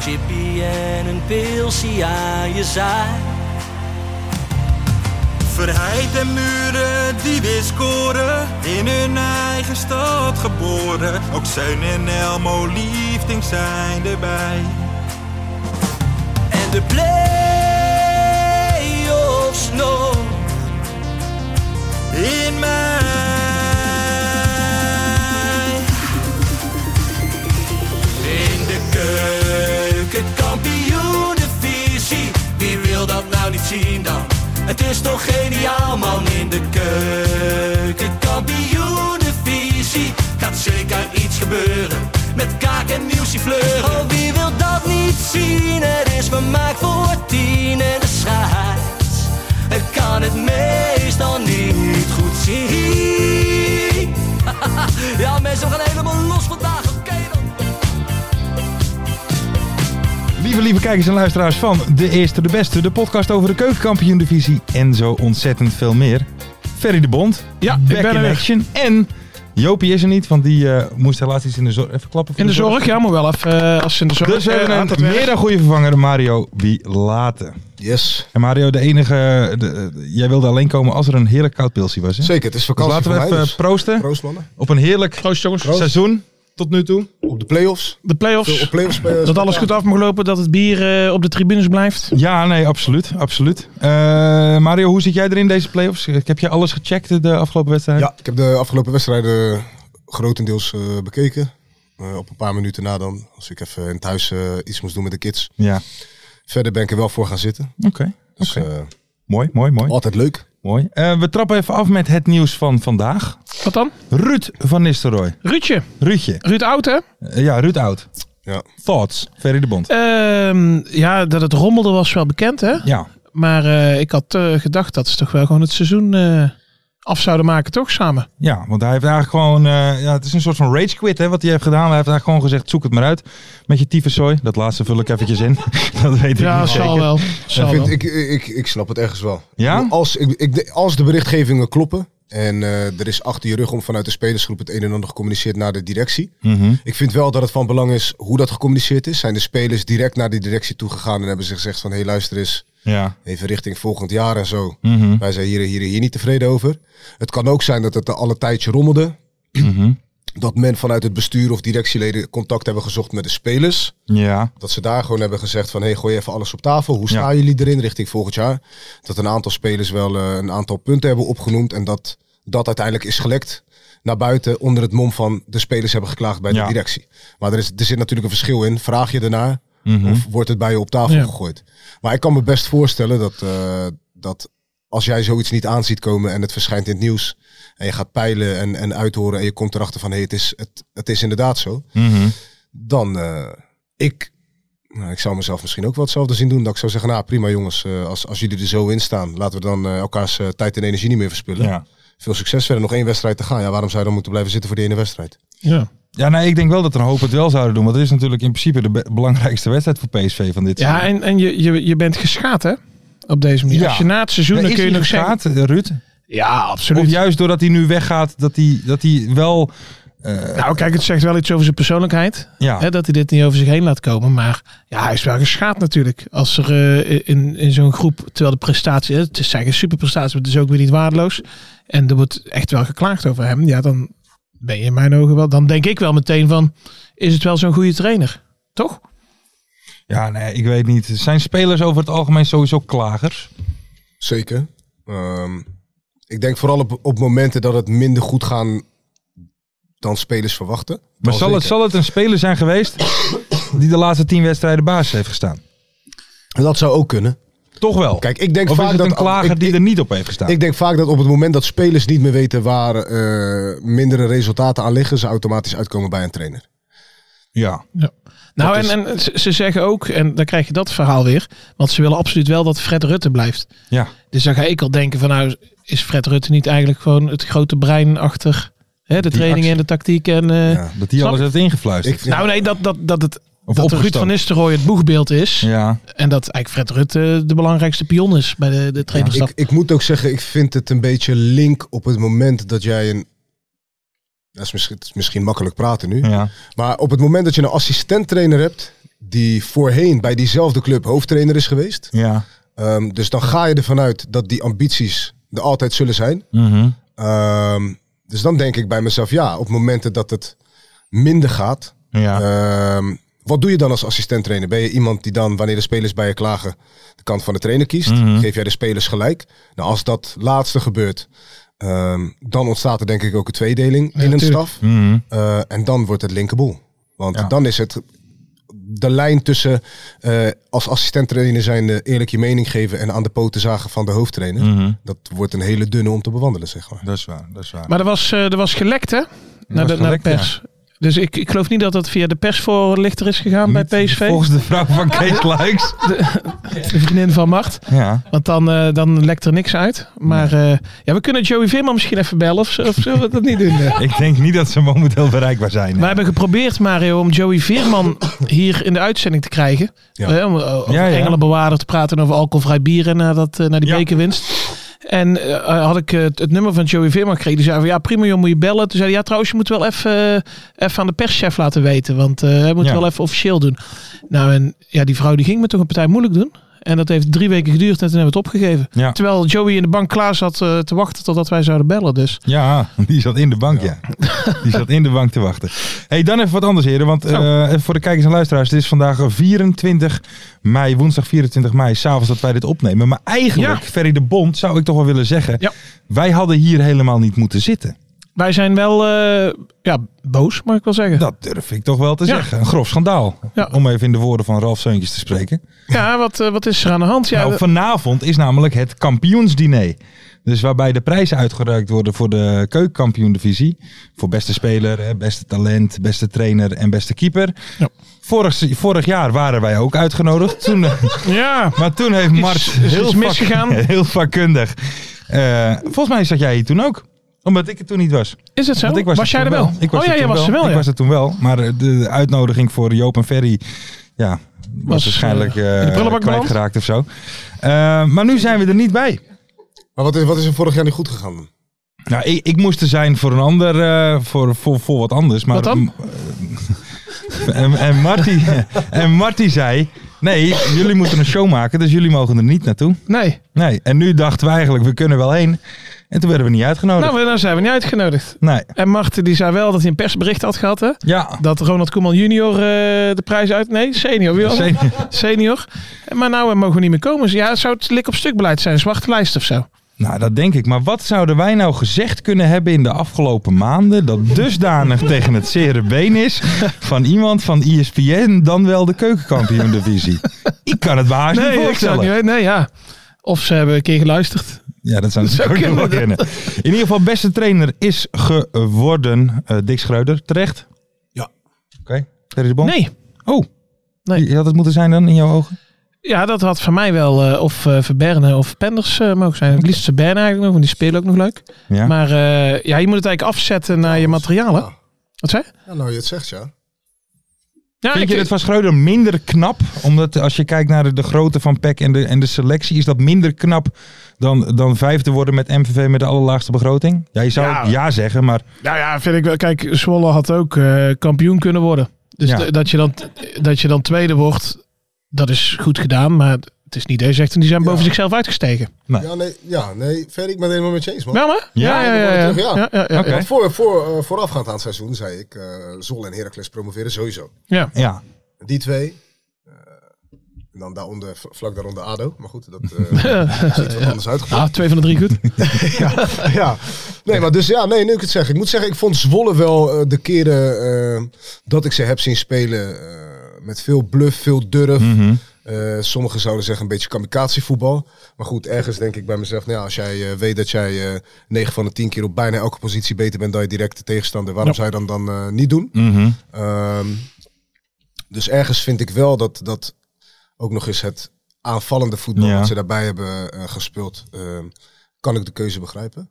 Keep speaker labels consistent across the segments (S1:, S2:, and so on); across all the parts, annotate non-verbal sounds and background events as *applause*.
S1: Chippy en een pilsie aan je zaai.
S2: Verheid en muren die weer scoren, in hun eigen stad geboren. Ook Zijn en Elmo liefding zijn erbij.
S1: En de play-offs nog.
S2: In mij.
S1: In de keuken, kampioenenvisie. Wie wil dat nou niet zien dan? Het is toch geniaal man in de keuken, kampioenenvisie. Gaat zeker iets gebeuren met kaak en muziek fleuren. Oh, wie wil dat niet zien? Het is vermaakt voor tien en de scheids. Ik kan het meestal niet goed zien. *laughs* ja mensen, we gaan helemaal los vandaag, oké dan.
S3: Lieve, lieve kijkers en luisteraars van De Eerste de Beste, de podcast over de keukenkampioen-divisie en zo ontzettend veel meer. Ferry de Bond,
S4: Ja,
S3: back
S4: ik ben
S3: in
S4: er weer.
S3: action. En Jopie is er niet, want die eh, moest helaas iets in de zorg. Even klappen voor
S4: In de zorg, ja, maar wel even. eh, als ze in de zorg
S3: Dus we
S4: eh,
S3: hebben
S4: aan het
S3: een
S4: werk.
S3: meer dan goede vervanger, Mario Bilate.
S5: Yes,
S3: En Mario, de enige, de- eh, jij wilde alleen komen als er een heerlijk koud pilsje was. Hè?
S5: zeker. Het is
S3: Dus
S5: vakantie
S3: laten we
S5: voor
S3: even
S5: mij, dus.
S3: proosten
S5: Proost mannen.
S3: op een heerlijk
S4: Proost jongens.
S3: seizoen tot nu toe.
S5: Op de play-offs.
S4: De
S5: Veel
S4: play-offs.
S5: op play-offs eh, spelen.
S4: Dat alles goed af mag lopen, dat het bier eh, op de tribunes blijft.
S3: Ja, nee, absoluut. absoluut. Eh, Mario, hoe zit jij erin deze playoffs? Ik heb je alles gecheckt de afgelopen wedstrijd?
S5: Ja, ik heb de afgelopen wedstrijden eh, grotendeels eh, bekeken. Eh, op een paar minuten na dan, als ik even in thuis eh, iets moest doen met de kids.
S3: Ja.
S5: Verder ben ik er wel voor gaan zitten.
S3: Oké.
S5: Dus
S3: Oké.
S5: eh,
S3: Mooi, mooi, mooi.
S5: altijd leuk.
S3: mooi. Eh, we trappen even af met het nieuws van vandaag.
S4: Wat dan?
S3: Ruud van Nistelrooy.
S4: Ruudje.
S3: Ruudje.
S4: Ruud Oud, hè?
S3: Eh, ja, Ruud Oud.
S5: Ja.
S3: Thoughts. Ferry de Bond.
S4: Ehm, ja, dat het rommelde was wel bekend, hè?
S3: Ja.
S4: Maar eh, ik had eh, gedacht dat ze toch wel gewoon het seizoen eh, af zouden maken, toch? Samen.
S3: ja, want hij heeft eigenlijk gewoon... eh, ja, het is een soort van rage quit hè, wat hij heeft gedaan. Hij heeft eigenlijk gewoon gezegd, zoek het maar uit. Met je tyfuszooi. Dat laatste vul ik eventjes in. *laughs* dat weet ik
S4: Ja,
S3: niet
S4: zal
S3: zeker.
S4: wel. Zal
S5: Vind,
S4: wel.
S5: ik, ik, ik snap het ergens wel.
S3: Ja?
S5: Ik bedoel, Als, ik, ik, als de berichtgevingen kloppen en eh, er is achter je rug om vanuit de spelersgroep het een en ander gecommuniceerd naar de directie.
S3: Mhm.
S5: Ik vind wel dat het van belang is hoe dat gecommuniceerd is. Zijn de spelers direct naar die directie toegegaan en hebben ze gezegd van... ...hé hey, luister eens,
S3: Ja.
S5: even richting volgend jaar en zo.
S3: Mhm.
S5: Wij zijn hier en hier en hier niet tevreden over. Het kan ook zijn dat het er alle tijdje rommelde.
S3: Mhm.
S5: Dat men vanuit het bestuur of directieleden contact hebben gezocht met de spelers.
S3: Ja.
S5: Dat ze daar gewoon hebben gezegd van... ...hé, hey, gooi even alles op tafel. Hoe staan
S3: Ja.
S5: jullie erin richting volgend jaar? Dat een aantal spelers wel eh, een aantal punten hebben opgenoemd... ...en dat dat uiteindelijk is gelekt naar buiten... ...onder het mom van de spelers hebben geklaagd bij
S3: Ja.
S5: de directie. Maar er, is, er zit natuurlijk een verschil in. Vraag je daarnaar
S3: Mhm.
S5: of wordt het bij je op tafel
S4: Ja.
S5: gegooid? Maar ik kan me best voorstellen dat, eh, dat als jij zoiets niet aanziet komen... ...en het verschijnt in het nieuws... ...en je gaat peilen en, en uithoren... ...en je komt erachter van... ...hé, hey, het, is, het, het is inderdaad zo
S3: Mhm.
S5: dan eh, ik, nou, ik zou mezelf misschien ook wel hetzelfde zien doen. Dat ik zou zeggen, nou prima jongens, eh, als, als jullie er zo in staan, laten we dan eh, elkaars eh, tijd en energie niet meer verspillen.
S3: Ja.
S5: Veel succes verder, nog één wedstrijd te gaan. Ja, waarom zou je dan moeten blijven zitten voor die ene wedstrijd?
S4: Ja.
S3: Ja, nee, ik denk wel dat er een hoop het wel zouden doen. Want het is natuurlijk in principe de be- belangrijkste wedstrijd voor PSV van dit
S4: Ja,
S3: seizoen.
S4: en, en je, je, je bent geschaad, hè? Op deze manier.
S3: Ja.
S4: Als je na het seizoen,
S3: Nee,
S4: dan
S3: is
S4: kun je
S3: hij
S4: nog zeggen...
S3: geschaad, Ruud?
S4: Ja,
S3: Of
S4: absoluut.
S3: juist doordat hij nu weggaat, dat hij, dat hij wel... eh,
S4: Nou, kijk, het zegt wel iets over zijn persoonlijkheid.
S3: ja,
S4: Hè, dat hij dit niet over zich heen laat komen. Maar ja, hij is wel geschaad natuurlijk. Als er eh, in, in zo'n groep, terwijl de prestatie, hè, het is zijn superprestatie, maar het is ook weer niet waardeloos. En er wordt echt wel geklaagd over hem. Ja, dan ben je in mijn ogen wel. Dan denk ik wel meteen van, is het wel zo'n goede trainer? Toch?
S3: ja, nee, ik weet niet. Zijn spelers over het algemeen sowieso klagers?
S5: Zeker. Ehm, ik denk vooral op, op momenten dat het minder goed gaan dan spelers verwachten.
S3: Maar
S5: Dan
S3: zal het,
S5: zeker.
S3: zal het een speler zijn geweest die de laatste tien wedstrijden baas heeft gestaan?
S5: Dat zou ook kunnen.
S3: Toch wel?
S5: Kijk, ik denk
S3: of is
S5: vaak
S3: het
S5: dat
S3: een klager
S5: ik-
S3: die
S5: ik-
S3: er niet op heeft gestaan?
S5: Ik denk vaak dat op het moment dat spelers niet meer weten waar eh, mindere resultaten aan liggen, ze automatisch uitkomen bij een trainer.
S3: ja.
S4: Ja. Nou,
S5: is-
S4: en, en ze, ze zeggen ook, en dan krijg je dat verhaal weer, want ze willen absoluut wel dat Fred Rutte blijft.
S3: Ja.
S4: Dus dan ga ik al denken van nou, is Fred Rutte niet eigenlijk gewoon het grote brein achter hè, de
S3: Die
S4: training
S3: actie.
S4: en de tactiek en... eh,
S5: Ja.
S3: Dat die
S4: Snap
S3: alles
S4: je?
S3: heeft ingefluisterd.
S5: Ik, ja,
S4: Nou nee, dat, dat, dat,
S3: of
S4: het, dat Ruud van
S3: opgestoken.
S4: Nistelrooy het boegbeeld is
S3: Ja,
S4: en dat eigenlijk Fred Rutte de belangrijkste pion is bij de, de trainerstap.
S5: ik, ik moet ook zeggen, ik vind het een beetje link op het moment dat jij een... Dat is misschien, het is misschien makkelijk praten nu.
S3: ja.
S5: Maar op het moment dat je een assistent-trainer hebt... die voorheen bij diezelfde club hoofdtrainer is geweest...
S3: ja.
S5: Ehm, dus dan ga je ervan uit dat die ambities er altijd zullen zijn.
S3: Mhm.
S5: Ehm, dus dan denk ik bij mezelf, ja, op momenten dat het minder gaat.
S3: ja.
S5: ehm, wat doe je dan als assistent trainer? Ben je iemand die dan, wanneer de spelers bij je klagen, de kant van de trainer kiest?
S3: Mhm.
S5: Geef jij de spelers gelijk? Nou, als dat laatste gebeurt, ehm, dan ontstaat er denk ik ook een tweedeling in een
S4: tuurlijk.
S5: staf.
S3: Mhm.
S5: Eh, en dan wordt het linkerboel. Want
S3: Ja.
S5: dan is het de lijn tussen eh, als assistent trainer zijn eerlijk je mening geven en aan de poten zagen van de hoofdtrainer.
S3: Mhm.
S5: Dat wordt een hele dunne om te bewandelen, zeg maar.
S3: Dat is waar, dat is waar.
S4: Maar er was, eh, er was gelekt hè, naar, de,
S3: was
S4: naar de
S3: gelekt,
S4: pers. Dus ik, ik geloof niet dat dat via de persvoorlichter is gegaan bij
S3: Niet
S4: PSV,
S3: Volgens de vrouw van Kees Luiks.
S4: *laughs* de vriendin van Mart.
S3: Ja.
S4: Want dan, eh, dan lekt er niks uit. Maar eh, ja, we kunnen Joey Veerman misschien even bellen of, zo- of zullen we dat niet doen? Eh,
S3: Ik denk niet dat ze momenteel bereikbaar zijn.
S4: We hebben geprobeerd, Mario, om Joey Veerman *coughs* hier in de uitzending te krijgen.
S5: Ja.
S4: Eh, om eh, over
S3: Ja, ja.
S4: Engelenbewaarder te praten en over alcoholvrij bier en naar, dat, eh, naar die
S3: Ja.
S4: bekerwinst. En eh, had ik eh, het, het nummer van Joey Veerman gekregen. Die zei van, ja prima joh, moet je bellen. Toen zei hij, ja trouwens, je moet wel even, eh, even aan de perschef laten weten. Want eh, hij moet
S3: Ja.
S4: wel even officieel doen. Nou en ja, die vrouw die ging me toch een partij moeilijk doen. En dat heeft drie weken geduurd en toen hebben we het opgegeven.
S3: Ja.
S4: Terwijl Joey in de bank klaar zat eh, te wachten totdat wij zouden bellen. Dus
S3: Ja, die zat in de bank, ja. Die zat in de bank te wachten. hey, dan even wat anders, heren. Want eh, even voor de kijkers en luisteraars, het is vandaag 24 mei, woensdag 24 mei, s'avonds dat wij dit opnemen. Maar eigenlijk, Ferry de Bond, zou ik toch wel willen zeggen,
S4: Ja.
S3: wij hadden hier helemaal niet moeten zitten.
S4: wij zijn wel eh, ja, boos, mag ik wel zeggen.
S3: Dat durf ik toch wel te
S4: Ja.
S3: zeggen. Een grof schandaal,
S4: Ja.
S3: om even in de woorden van Ralf Seuntjes te spreken.
S4: Ja, wat, eh, wat is er aan de hand? Ja,
S3: nou, vanavond is namelijk het kampioensdiner. Dus waarbij de prijzen uitgereikt worden voor de keukenkampioen-divisie. Voor beste speler, hè, beste talent, beste trainer en beste keeper.
S4: Ja.
S3: Vorig, vorig jaar waren wij ook uitgenodigd. Toen, *laughs*
S4: ja.
S3: maar toen heeft Mart
S4: is- is
S3: heel,
S4: iets
S3: vak-
S4: misgegaan.
S3: *laughs* heel vakkundig. Eh, volgens mij zat jij hier toen ook. Omdat ik er toen niet was.
S4: is het zo?
S3: Want ik was,
S4: Oh, jij
S3: toen
S4: er wel?
S3: Ik was
S4: oh ja,
S3: toen
S4: jij was er wel.
S3: Ik
S4: ja.
S3: was er toen wel. Maar eh, de uitnodiging voor Joop en Ferry ja, was, waarschijnlijk
S4: eh, in de
S3: eh
S4: prullenbak
S3: kwijtgeraakt of zo. Eh, maar nu zijn we er niet bij.
S5: Maar wat is, wat is er vorig jaar niet goed gegaan? dan?
S3: Nou, ik, ik moest er zijn voor een ander, eh, voor, voor, voor wat anders. Maar,
S4: Wat dan?
S3: Eh, *laughs* en, en, Marty, *laughs* en Marty zei, nee, jullie moeten een show maken, dus jullie mogen er niet naartoe.
S4: Nee,
S3: Nee, en nu dachten we eigenlijk, we kunnen wel heen. En toen werden we niet uitgenodigd.
S4: nou, we- nou zijn we niet uitgenodigd.
S3: nee.
S4: En Marten die zei wel dat hij een persbericht had gehad. Hè?
S3: Ja.
S4: Dat Ronald Koeman junior eh, de prijs uit... Nee, senior. Wie was het?
S3: Zeker.
S4: *laughs* Senior. Maar nou eh, mogen we niet meer komen. Ja, het zou het lik op stuk beleid zijn. Zwarte lijst of zo.
S3: Nou, dat denk ik. Maar wat zouden wij nou gezegd kunnen hebben in de afgelopen maanden... dat dusdanig *laughs* tegen het zere been is van iemand van E ESPN... dan wel de keukenkampioen-divisie? Ik kan het me haast niet
S4: nee, ik zou het
S3: voorstellen.
S4: niet weten. Nee, ja. Of ze hebben een keer geluisterd.
S3: Ja, dat zou
S4: zou
S3: natuurlijk ook wel
S4: kunnen.
S3: kennen. In ieder geval, beste trainer is geworden eh Dick Schreuder. Terecht?
S6: Ja.
S3: Oké. Terry de Bond?
S4: Nee.
S3: Oh.
S4: Nee.
S3: Nee. Had het moeten zijn dan in jouw ogen?
S4: Ja, dat had voor mij wel eh, of eh Verberne of Penders eh, mogen zijn. Het liefst Verberne eigenlijk nog, want die spelen ook nog leuk.
S3: Ja.
S4: Maar eh, ja, je moet het eigenlijk afzetten naar je materialen.
S5: ja.
S4: Wat zei je?
S5: Ja, nou, je het zegt, ja.
S4: ja,
S3: Vind
S4: ik-
S3: je dit van Schreuder minder knap? Omdat als je kijkt naar de, de grootte van PEC en de, en de selectie, is dat minder knap dan, dan vijfde worden met MVV met de allerlaagste begroting? Ja, je zou
S4: Ja.
S3: ja, zeggen, maar
S4: Nou ja, vind ik wel. Kijk, Zwolle had ook eh, kampioen kunnen worden. Dus
S3: Ja.
S4: d- dat, je dan, dat je dan tweede wordt, dat is goed gedaan. Maar het is niet deze echt. En die zijn boven
S5: Ja.
S4: zichzelf uitgestegen.
S5: Ja, nee, ja, nee Ferry, ik ben het helemaal met je eens, man.
S4: Wel hè?
S3: Ja,
S4: ja, ja. ja,
S5: dat
S4: ja,
S5: wordt
S4: ja,
S5: het,
S4: ja, ja.
S3: Oké.
S5: Want voor, voor, eh, voorafgaand aan het seizoen zei ik, eh Zol en Heracles promoveren sowieso.
S4: Ja.
S3: ja.
S5: Die twee. eh, en dan daaronder, v- vlak daaronder ADO. Maar goed, dat
S3: *laughs*
S5: eh, is iets wat anders uitgevoerd.
S4: Ah, twee van de drie *laughs* goed.
S5: *laughs* ja. Nee, maar dus ja, nee, nu ik het zeg. Ik moet zeggen, ik vond Zwolle wel eh, de keren eh, dat ik ze heb zien spelen. eh, met veel bluff, veel durf.
S3: Mhm.
S5: Eh, sommigen zouden zeggen een beetje kamikazevoetbal. Maar goed, ergens denk ik bij mezelf, nou ja, als jij eh, weet dat jij eh 9 van de 10 keer op bijna elke positie beter bent dan je directe tegenstander, waarom
S4: Ja.
S5: zou je dan dan eh, niet doen?
S3: Mhm.
S5: Ehm, Dus ergens vind ik wel dat dat ook nog eens het aanvallende voetbal
S3: Ja.
S5: dat ze daarbij hebben eh, gespeeld, ehm, kan ik de keuze begrijpen.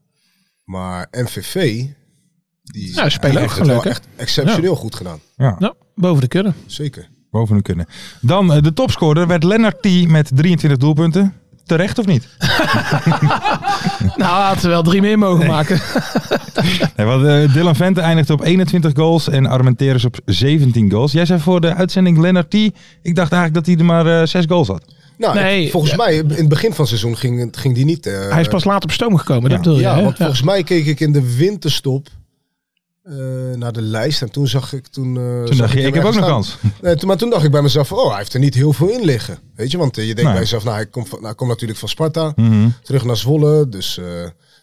S5: Maar MVV, die
S4: Ja, spelen
S5: heeft
S4: ook
S5: het wel
S4: leuk, hè?
S5: echt exceptioneel goed gedaan.
S4: Nou, boven de kudde.
S5: Zeker.
S3: Boven hun kunnen. Dan eh, de topscorer werd Lennart T. met 23 doelpunten. Terecht of niet?
S4: Nou, laten we wel drie meer mogen maken.
S3: *laughs* Nee, want, eh, Dylan Vente eindigde op 21 goals en Armenteris op 17 goals. Jij zei voor de uitzending Lennart T. Ik dacht eigenlijk dat hij er maar eh 6 goals had.
S5: Nou,
S4: Nee,
S5: ik- volgens
S4: ja.
S5: mij in het begin van het seizoen ging, ging die niet. eh,
S4: *laughs* Hij is pas laat op stoom gekomen, dat bedoel je,
S5: Ja,
S4: hè?
S5: want volgens mij keek ik in de winterstop eh, naar de lijst en toen zag ik toen. eh,
S3: Toen dacht je,
S5: hem
S3: ik heb ook nog
S5: ergens
S3: kans. *laughs*
S5: staan. Nee, toen, maar toen dacht ik bij mezelf, van, oh, hij heeft er niet heel veel in liggen, weet je, want eh, je denkt
S3: Nee.
S5: bij jezelf, nou, hij komt, van- nou, hij komt natuurlijk van Sparta,
S3: Mhm.
S5: terug naar Zwolle, dus eh,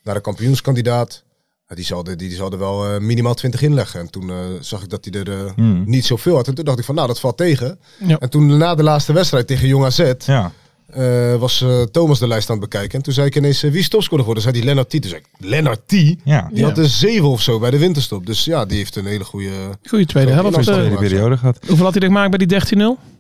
S5: naar de kampioenskandidaat. Ja, die, zal er, die, die zal er wel eh, minimaal 20 inleggen. En toen eh, zag ik dat hij er eh,
S3: Mhm.
S5: niet zoveel had. En toen dacht ik van, nou, dat valt tegen.
S4: Ja.
S5: En toen na de laatste wedstrijd tegen Jong AZ,
S3: Ja.
S5: eh, was eh, Thomas de lijst aan het bekijken. En toen zei ik ineens, eh, wie is topscorer geworden? Zei die Lennart T. Toen zei ik, Lennart T? Die
S3: ja.
S4: Ja.
S5: had een 7 of zo bij de winterstop. Dus ja, die heeft een hele goede...
S4: Goeie tweede
S5: Zo,
S4: helft.
S5: die
S4: eh,
S5: tweede.
S3: Tweede periode gehad.
S4: hoeveel had hij er gemaakt bij die 13-0?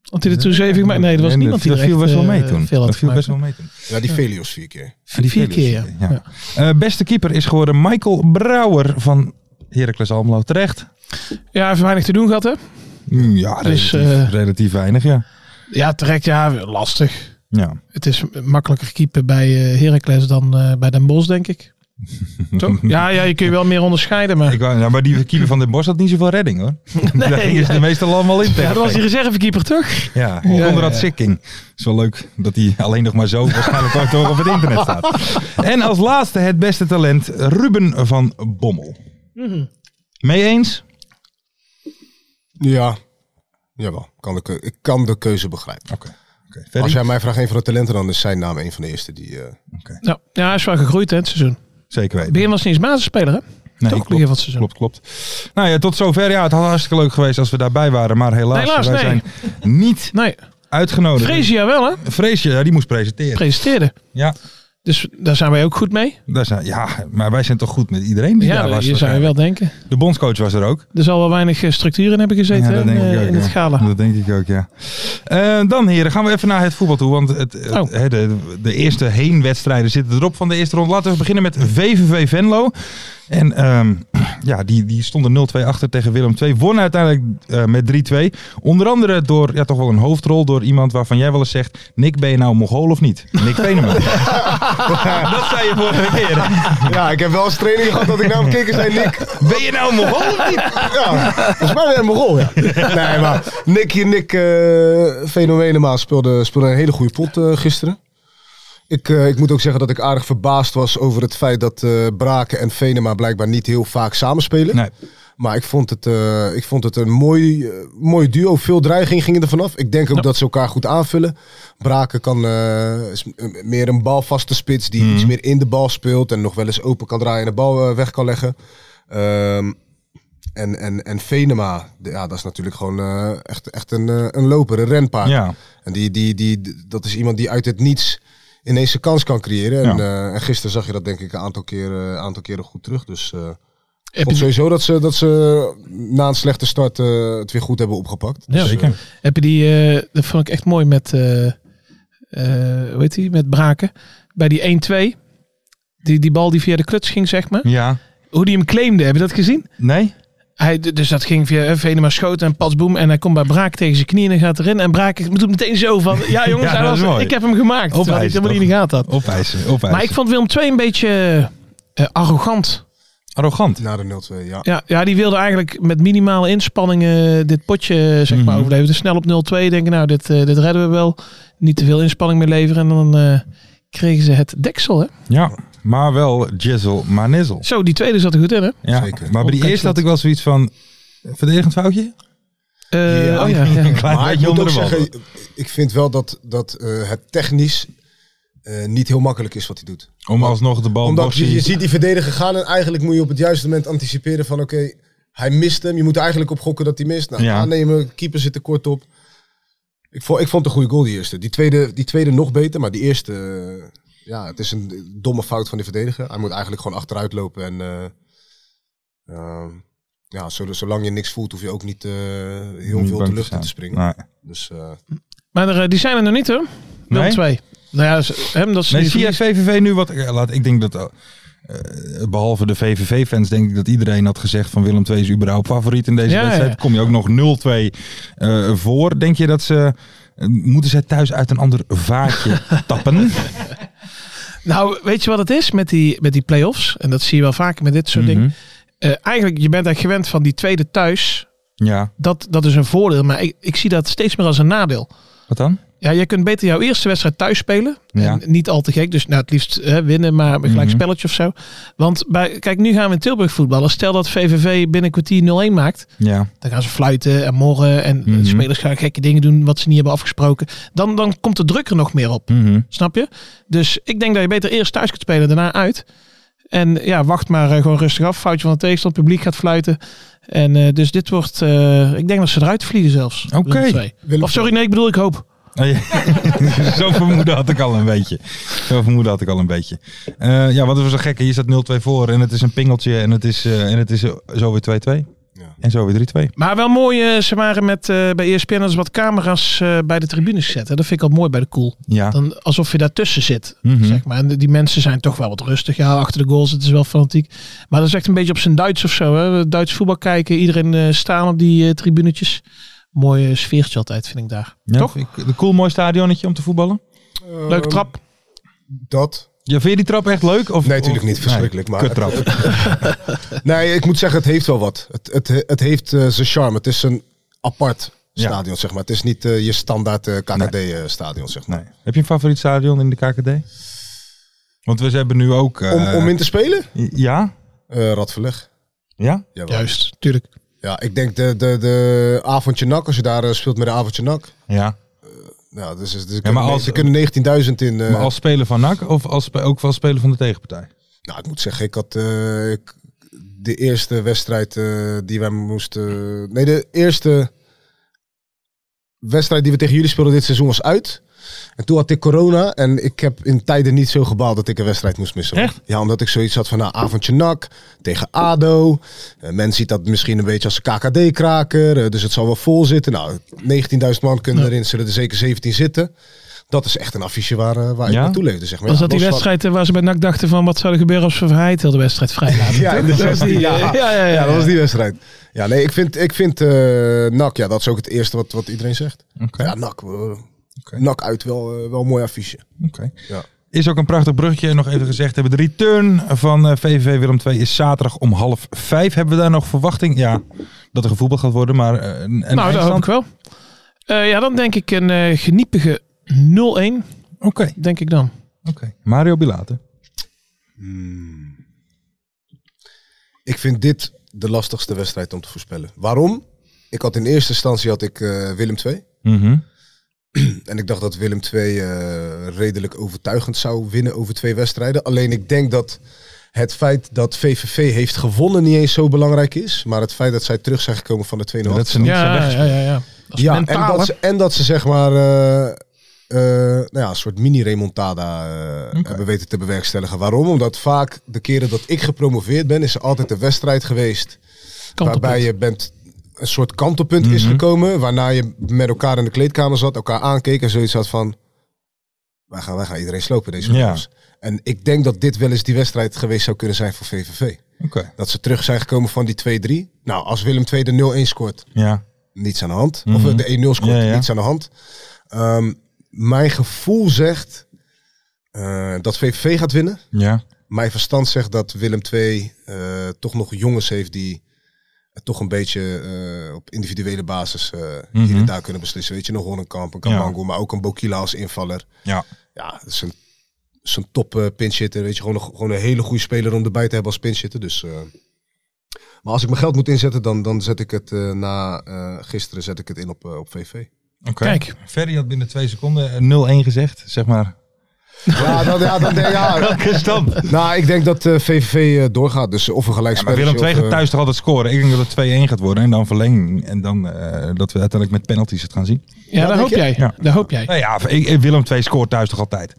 S4: Had hij er toen zeven gemaakt? Nee, er was
S3: Nee,
S4: niemand die
S3: dat
S4: er
S3: viel
S4: echt,
S3: best wel
S4: eh,
S3: mee toen.
S4: Veel had
S3: Dat viel
S4: gemaakt.
S3: best wel mee toen.
S5: Ja, die Velios vier keer.
S4: Vier,
S3: Vier
S4: keer, ja.
S3: keer, ja. Eh, beste keeper is geworden Michael Brouwer van Heracles Almelo. Terecht.
S4: Ja, hij heeft weinig te doen gehad, hè?
S3: Mm, Ja,
S4: Dus,
S3: relatief,
S4: eh,
S3: relatief weinig, ja.
S4: Ja, terecht. Ja, lastig.
S3: ja.
S4: Het is makkelijker keeper bij eh Heracles dan eh, bij Den Bosch, denk *laughs* ik. Toch? Ja, ja, je kunt je wel meer onderscheiden, maar...
S3: Ik wou, ja, maar die keeper van Den Bosch had niet zoveel redding,
S4: *laughs*
S3: hoor. Daar gingen ze de meestal allemaal in
S4: ja,
S3: tegen.
S4: dat was die reservekeeper, toch?
S3: Ja,
S4: Ja,
S3: onder dat
S4: ja.
S3: sikking. is wel leuk dat hij alleen nog maar zo waarschijnlijk kwart over op het internet staat.
S4: *laughs*
S3: En als laatste het beste talent, Ruben van Bommel.
S4: Mhm.
S3: Mee eens?
S5: Ja, jawel. Kan de keu- ik kan de keuze begrijpen.
S3: Oké. oké. Ferry?
S5: Als jij mij vraagt een van de talenten, dan is zijn naam een van de eerste die... eh,
S4: Ja, ja, hij is wel gegroeid, hè, het seizoen.
S3: Zeker
S4: Het
S3: weten.
S4: begin was hij eens basisspeler, hè?
S3: Nee,
S4: Toch begin van het seizoen.
S3: Klopt, klopt. Nou ja, tot zover. Ja, het had hartstikke leuk geweest als we daarbij waren. Maar helaas,
S4: Helaas,
S3: wij
S4: nee.
S3: zijn niet
S4: Nee,
S3: uitgenodigd.
S4: Fresia wel, hè?
S3: Freesje, ja, die moest presenteren.
S4: Presenteerde.
S3: ja,
S4: Dus daar zijn wij ook goed mee.
S3: daar zijn, ja, maar wij zijn toch goed met iedereen die
S4: Ja,
S3: daar was.
S4: je zou je wel denken.
S3: De bondscoach was er ook.
S4: Er zal wel weinig eh, structuur in hebben gezeten
S3: Ja,
S4: hè,
S3: dat
S4: in,
S3: denk ik
S4: eh,
S3: ook,
S4: in
S3: ja.
S4: het gala.
S3: Dat denk ik ook, ja. Eh, dan heren, gaan we even naar het voetbal toe. Want het, het-
S4: Oh.
S3: hè, de, de eerste heenwedstrijden zitten erop van de eerste ronde. Laten we beginnen met VVV Venlo. En ehm, *clears throat* ja, die, die stonden 0-2 achter tegen Willem II. Won uiteindelijk eh, met 3-2. Onder andere door, ja toch wel een hoofdrol, door iemand waarvan jij wel eens zegt... Nick, ben je nou Mongool of niet? Nick
S4: *laughs*
S3: Venema. dat zei je vorige keer.
S5: *laughs* Ja, ik heb wel eens trainingen gehad dat ik naar hem keek en zei Nick.
S3: Ben je nou Mongool of niet?
S5: Ja, volgens mij weer een Mongool, ja. Nee, maar Nick hier, Nick eh Fenomenema speelde, speelde een hele goede pot eh, gisteren. Ik, eh, ik moet ook zeggen dat ik aardig verbaasd was over het feit dat eh Braken en Venema blijkbaar niet heel vaak samenspelen.
S3: Nee.
S5: Maar ik vond het, eh, ik vond het een mooi, eh, mooi duo. Veel dreiging gingen er vanaf. Ik denk ook dat ze elkaar goed aanvullen. Braken kan, eh, is m- meer een balvaste spits die
S3: Mhm.
S5: iets meer in de bal speelt. En nog wel eens open kan draaien en de bal eh, weg kan leggen. Ehm, en, en, en Venema, de- ja, dat is natuurlijk gewoon eh, echt, echt een, eh, een loper, een renpaard.
S3: Ja.
S5: En die, die, die, d- dat is iemand die uit het niets ineens een kans kan creëren. En,
S3: Ja.
S5: eh, en gisteren zag je dat denk ik een aantal keren, aantal keren goed terug. Dus... eh,
S4: Heb
S5: ik vond
S4: je,
S5: sowieso dat ze, dat ze na een slechte start eh, het weer goed hebben opgepakt.
S4: Ja.
S3: Zeker.
S4: heb je die, eh, dat vond ik echt mooi met, eh eh, hoe heet die, met Braken. Bij die 1-2, die, die bal die via de kluts ging, zeg maar.
S3: Ja.
S4: Hoe die hem claimde, heb je dat gezien?
S3: Nee?
S4: Hij, d- dus dat ging via eh, Venema schoten en patsboom. En hij komt bij Braak tegen zijn knieën en gaat erin. En Braak doet meteen zo van, ja
S3: *laughs*
S4: jongens,
S3: Ja,
S4: hij
S3: dat is
S4: was,
S3: mooi.
S4: ik heb hem gemaakt. Terwijl hij het helemaal niet in de gaten had.
S3: Opeisen, opeisen.
S4: Maar ik vond Willem II een beetje eh, arrogant.
S3: Arrogant.
S5: Na de 0-2, ja.
S4: Ja, ja, die wilde eigenlijk met minimale inspanningen dit potje eh, zeg maar,
S3: Mhm.
S4: overleven. Dus snel op 0-2 denken, nou, dit, eh, dit redden we wel. Niet te veel inspanning meer leveren. En dan eh, kregen ze het deksel, hè?
S3: Ja, maar wel Jizzle Manizzel.
S4: Zo, die tweede zat er goed in, hè?
S3: Ja,
S5: Zeker.
S3: maar bij die
S4: Onkijk
S3: eerste had
S4: dat.
S3: ik wel zoiets van... eh, Verdedigend foutje?
S4: Eh,
S5: Ja.
S4: Oh ja, ja.
S3: *laughs* Een klein
S5: Maar ik
S3: beetje
S5: moet
S3: onder de
S5: ook
S3: bal.
S5: zeggen, ik vind wel dat, dat eh, het technisch eh, niet heel makkelijk is wat hij doet.
S3: Om alsnog de bal
S5: Omdat je,
S3: bossie-
S5: je ziet die verdediger gaan en eigenlijk moet je op het juiste moment anticiperen van oké, hij mist hem. Je moet er eigenlijk op gokken dat hij mist. Nou,
S3: Ja.
S5: aannemen, keeper zit er kort op. Ik vond, ik vond het een goede goal die eerste. Die tweede, die tweede nog beter, maar die eerste... eh, ja, het is een domme fout van de verdediger. Hij moet eigenlijk gewoon achteruit lopen en... eh, ehm, Ja, zo- zolang je niks voelt, hoef je ook niet eh, heel
S3: Niet bang
S5: veel de
S3: te
S5: lucht in
S3: zijn.
S5: te springen.
S3: Nee.
S5: Dus eh,
S4: Maar er, eh, die zijn er nog niet hoor. Wel
S3: Nee?
S4: twee. Nou ja, ze- hem dat ze
S3: Nee,
S4: die
S3: zie je
S4: verliezen.
S3: VVV nu wat... eh, Laat, ik denk dat... eh, behalve de VVV-fans denk ik dat iedereen had gezegd van Willem II is überhaupt favoriet in deze
S4: Ja,
S3: wedstrijd.
S4: ja.
S3: Kom je ook nog 0-2 eh, voor. Denk je dat ze... eh, moeten zij thuis uit een ander vaatje
S4: *laughs*
S3: tappen?
S4: Nou, weet je wat het is met die, met die play-offs? En dat zie je wel vaker met dit soort dingen.
S3: Mhm.
S4: Eh, eigenlijk, je bent eigenlijk gewend van die tweede thuis.
S3: Ja,
S4: Dat, dat is een voordeel, maar ik, ik zie dat steeds meer als een nadeel.
S3: wat dan?
S4: Ja, je kunt beter jouw eerste wedstrijd thuis spelen.
S3: Ja.
S4: En niet al te gek. Dus nou, het liefst hè, winnen, maar een gelijk
S3: Mhm.
S4: spelletje of zo. Want bij, kijk, nu gaan we in Tilburg voetballen. Stel dat VVV binnen kwartier 0-1 maakt.
S3: Ja,
S4: Dan gaan ze fluiten en morren. En de
S3: Mhm.
S4: spelers gaan gekke dingen doen wat ze niet hebben afgesproken. Dan, dan komt de druk er nog meer op.
S3: Mhm.
S4: Snap je? Dus ik denk dat je beter eerst thuis kunt spelen, daarna uit. En ja, wacht maar eh, gewoon rustig af. Foutje van de tegenstand, publiek gaat fluiten. En eh, dus dit wordt, eh, ik denk dat ze eruit vliegen zelfs.
S3: Oké.
S4: Willem II.
S5: Willem
S4: Of sorry, nee, ik bedoel, ik hoop.
S3: Ah, ja. *laughs* Zo vermoeden had ik al een beetje. Zo vermoeden had ik al een beetje. Eh, ja, wat was zo gek. Hier staat 0-2 voor en het is een pingeltje en het is, eh, en het is zo weer 2-2.
S5: Ja.
S3: En zo weer 3-2.
S4: Maar wel mooi, eh, ze waren met, eh, bij ESPN hadden ze wat camera's eh, bij de tribunes gezet. Hè. Dat vind ik al mooi bij de cool.
S3: Ja.
S4: Dan, alsof je daartussen zit,
S3: Mhm.
S4: zeg maar. En die mensen zijn toch wel wat rustig. Ja, achter de goals, het is wel fanatiek. Maar dat is echt een beetje op zijn Duits of zo. Hè. Duits voetbal kijken, iedereen eh, staan op die eh, tribunetjes. Mooie sfeertje altijd, vind ik daar.
S3: Ja,
S4: Toch?
S5: Eh,
S3: vind ik Een cool mooi stadionnetje om te voetballen.
S4: Leuke trap.
S5: dat.
S3: Ja, vind je die trap echt leuk? Of,
S5: Nee, natuurlijk niet.
S3: of-
S5: Verschrikkelijk, maar-
S3: Kuttrap.
S5: *laughs* Nee, ik moet zeggen, het heeft wel wat. Het, het, het heeft eh, zijn charme. Het is een apart
S3: Ja.
S5: stadion, zeg maar. Het is niet eh, je standaard KKD-stadion, eh, zeg maar.
S3: Nee. Heb je een favoriet stadion in de KKD? Want we hebben nu ook... eh,
S5: Om, om in te spelen?
S3: Ja?
S5: Eh Radverleg.
S3: Ja?
S5: Jawel.
S4: Juist, tuurlijk.
S5: Ja, ik denk de, de, de avondje nak, als je daar eh, speelt met de avondje nak.
S3: Ja.
S5: Nou, dus, dus,
S3: Ja, maar als-
S5: er kunnen 19.000 in. eh,
S3: Maar als speler van NAC of als, spe- ook als speler van de tegenpartij?
S5: Nou, ik moet zeggen, ik had eh, ik- de eerste wedstrijd eh, die wij moesten. Nee, de eerste wedstrijd die we tegen jullie speelden dit seizoen was uit. En toen had ik corona en ik heb in tijden niet zo gebaald dat ik een wedstrijd moest missen. hoor.
S4: Echt?
S5: Ja, omdat ik zoiets had van, nou, avondje nak tegen ADO. Eh, men ziet dat misschien een beetje als een KKD-kraker, eh, dus het zal wel vol zitten. Nou, 19.000 man kunnen erin, zullen er zeker 17 zitten. Dat is echt een affiche waar, eh, waar ik
S3: Ja?
S5: naartoe leefde, zeg maar.
S4: Was
S5: Ja,
S4: dat die
S5: los van-
S4: wedstrijd eh, waar ze bij NAC dachten van wat zou er gebeuren als we Verheid heel de wedstrijd vrij laten?
S5: *laughs* Ja,
S4: toch?
S5: dat was die,
S4: eh,
S5: ja.
S4: ja, ja,
S5: Ja, dat
S4: ja.
S5: was die wedstrijd. Ja, nee, ik vind, ik vind eh NAC, ja, dat is ook het eerste wat, wat iedereen zegt.
S3: Oké.
S5: Ja, NAC. eh, NAC uit, wel, eh, wel een mooi affiche.
S3: Oké.
S5: Ja.
S3: Is ook een prachtig brugje. Nog even gezegd hebben. De return van eh, VVV Willem II is zaterdag om half vijf. Hebben we daar nog verwachting? Ja, dat er gevoetbald gaat worden. Maar eh, een, een
S4: nou, dat hoop
S3: eindstand?
S4: ik wel. Eh, ja, dan denk ik een eh, geniepige 0-1,
S3: Oké.
S4: denk ik dan.
S3: oké. Mario Bilate.
S5: Hmm. Ik vind dit de lastigste wedstrijd om te voorspellen. Waarom? Ik had in eerste instantie had ik, eh, Willem 2.
S3: Mhm.
S5: En ik dacht dat Willem 2 eh, redelijk overtuigend zou winnen over twee wedstrijden. Alleen ik denk dat het feit dat VVV heeft gewonnen niet eens zo belangrijk is. Maar het feit dat zij terug zijn gekomen van de 2-0
S3: Dat ze niet zijn
S4: Ja,
S3: weg.
S4: ja, ja, ja. Dat is
S5: Ja,
S4: mentaal,
S5: en,
S4: hè?
S5: dat ze, en dat ze zeg maar eh, eh, nou ja, een soort mini-remontada eh, hebben weten te bewerkstelligen. Waarom? Omdat vaak de keren dat ik gepromoveerd ben, is er altijd een wedstrijd geweest
S4: Kantelpunt. Mhm.
S5: waarbij je bent een soort kantelpunt is gekomen. Waarna je met elkaar in de kleedkamer zat, elkaar aankeek en zoiets had van... Wij gaan, wij gaan iedereen slopen deze
S3: Ja.
S5: jongens. En ik denk dat dit wel eens die wedstrijd geweest zou kunnen zijn voor VVV.
S3: Oké.
S5: Dat ze terug zijn gekomen van die 2-3. Nou, als Willem II de 0-1 scoort,
S3: Ja.
S5: niets aan de hand.
S3: Mhm.
S5: Of eh, de 1-0 scoort,
S3: Ja, ja.
S5: niets aan de hand. Ehm, mijn gevoel zegt eh, dat VVV gaat winnen.
S3: Ja.
S5: Mijn verstand zegt dat Willem II eh, toch nog jongens heeft die het toch een beetje eh, op individuele basis eh, hier
S3: Mhm.
S5: en daar kunnen beslissen. Weet je, nog Hornkamp, een
S3: Ja.
S5: Kamango, maar ook een Bokila als invaller.
S3: Ja.
S5: Ja, dat is een, is een top eh, pinchitter. Weet je, gewoon een, gewoon een hele goede speler om erbij te hebben als pinchitter. Dus, eh, maar als ik mijn geld moet inzetten, dan, dan zet ik het eh, na eh, gisteren zet ik het in op, eh, op VV.
S3: Oké.
S4: Kijk.
S3: Ferry had binnen twee seconden eh, 0-1 gezegd. Zeg maar.
S5: Ja, dan, ja, dan, *laughs* ja.
S3: Stand.
S5: Nou, ik denk dat eh, VVV eh, doorgaat. Dus of eh, een
S3: Ja, maar
S5: gelijkspel.
S3: Willem II gaat thuis toch altijd scoren. Ik denk dat het 2-1 gaat worden. En dan verlenging. En dan eh, dat we uiteindelijk met penalties het gaan zien.
S4: Ja, daar
S5: denk
S4: hoop
S5: je?
S4: jij.
S3: Ja.
S4: Daar hoop jij.
S3: Nou ja, ik- ik- Willem II scoort thuis toch altijd.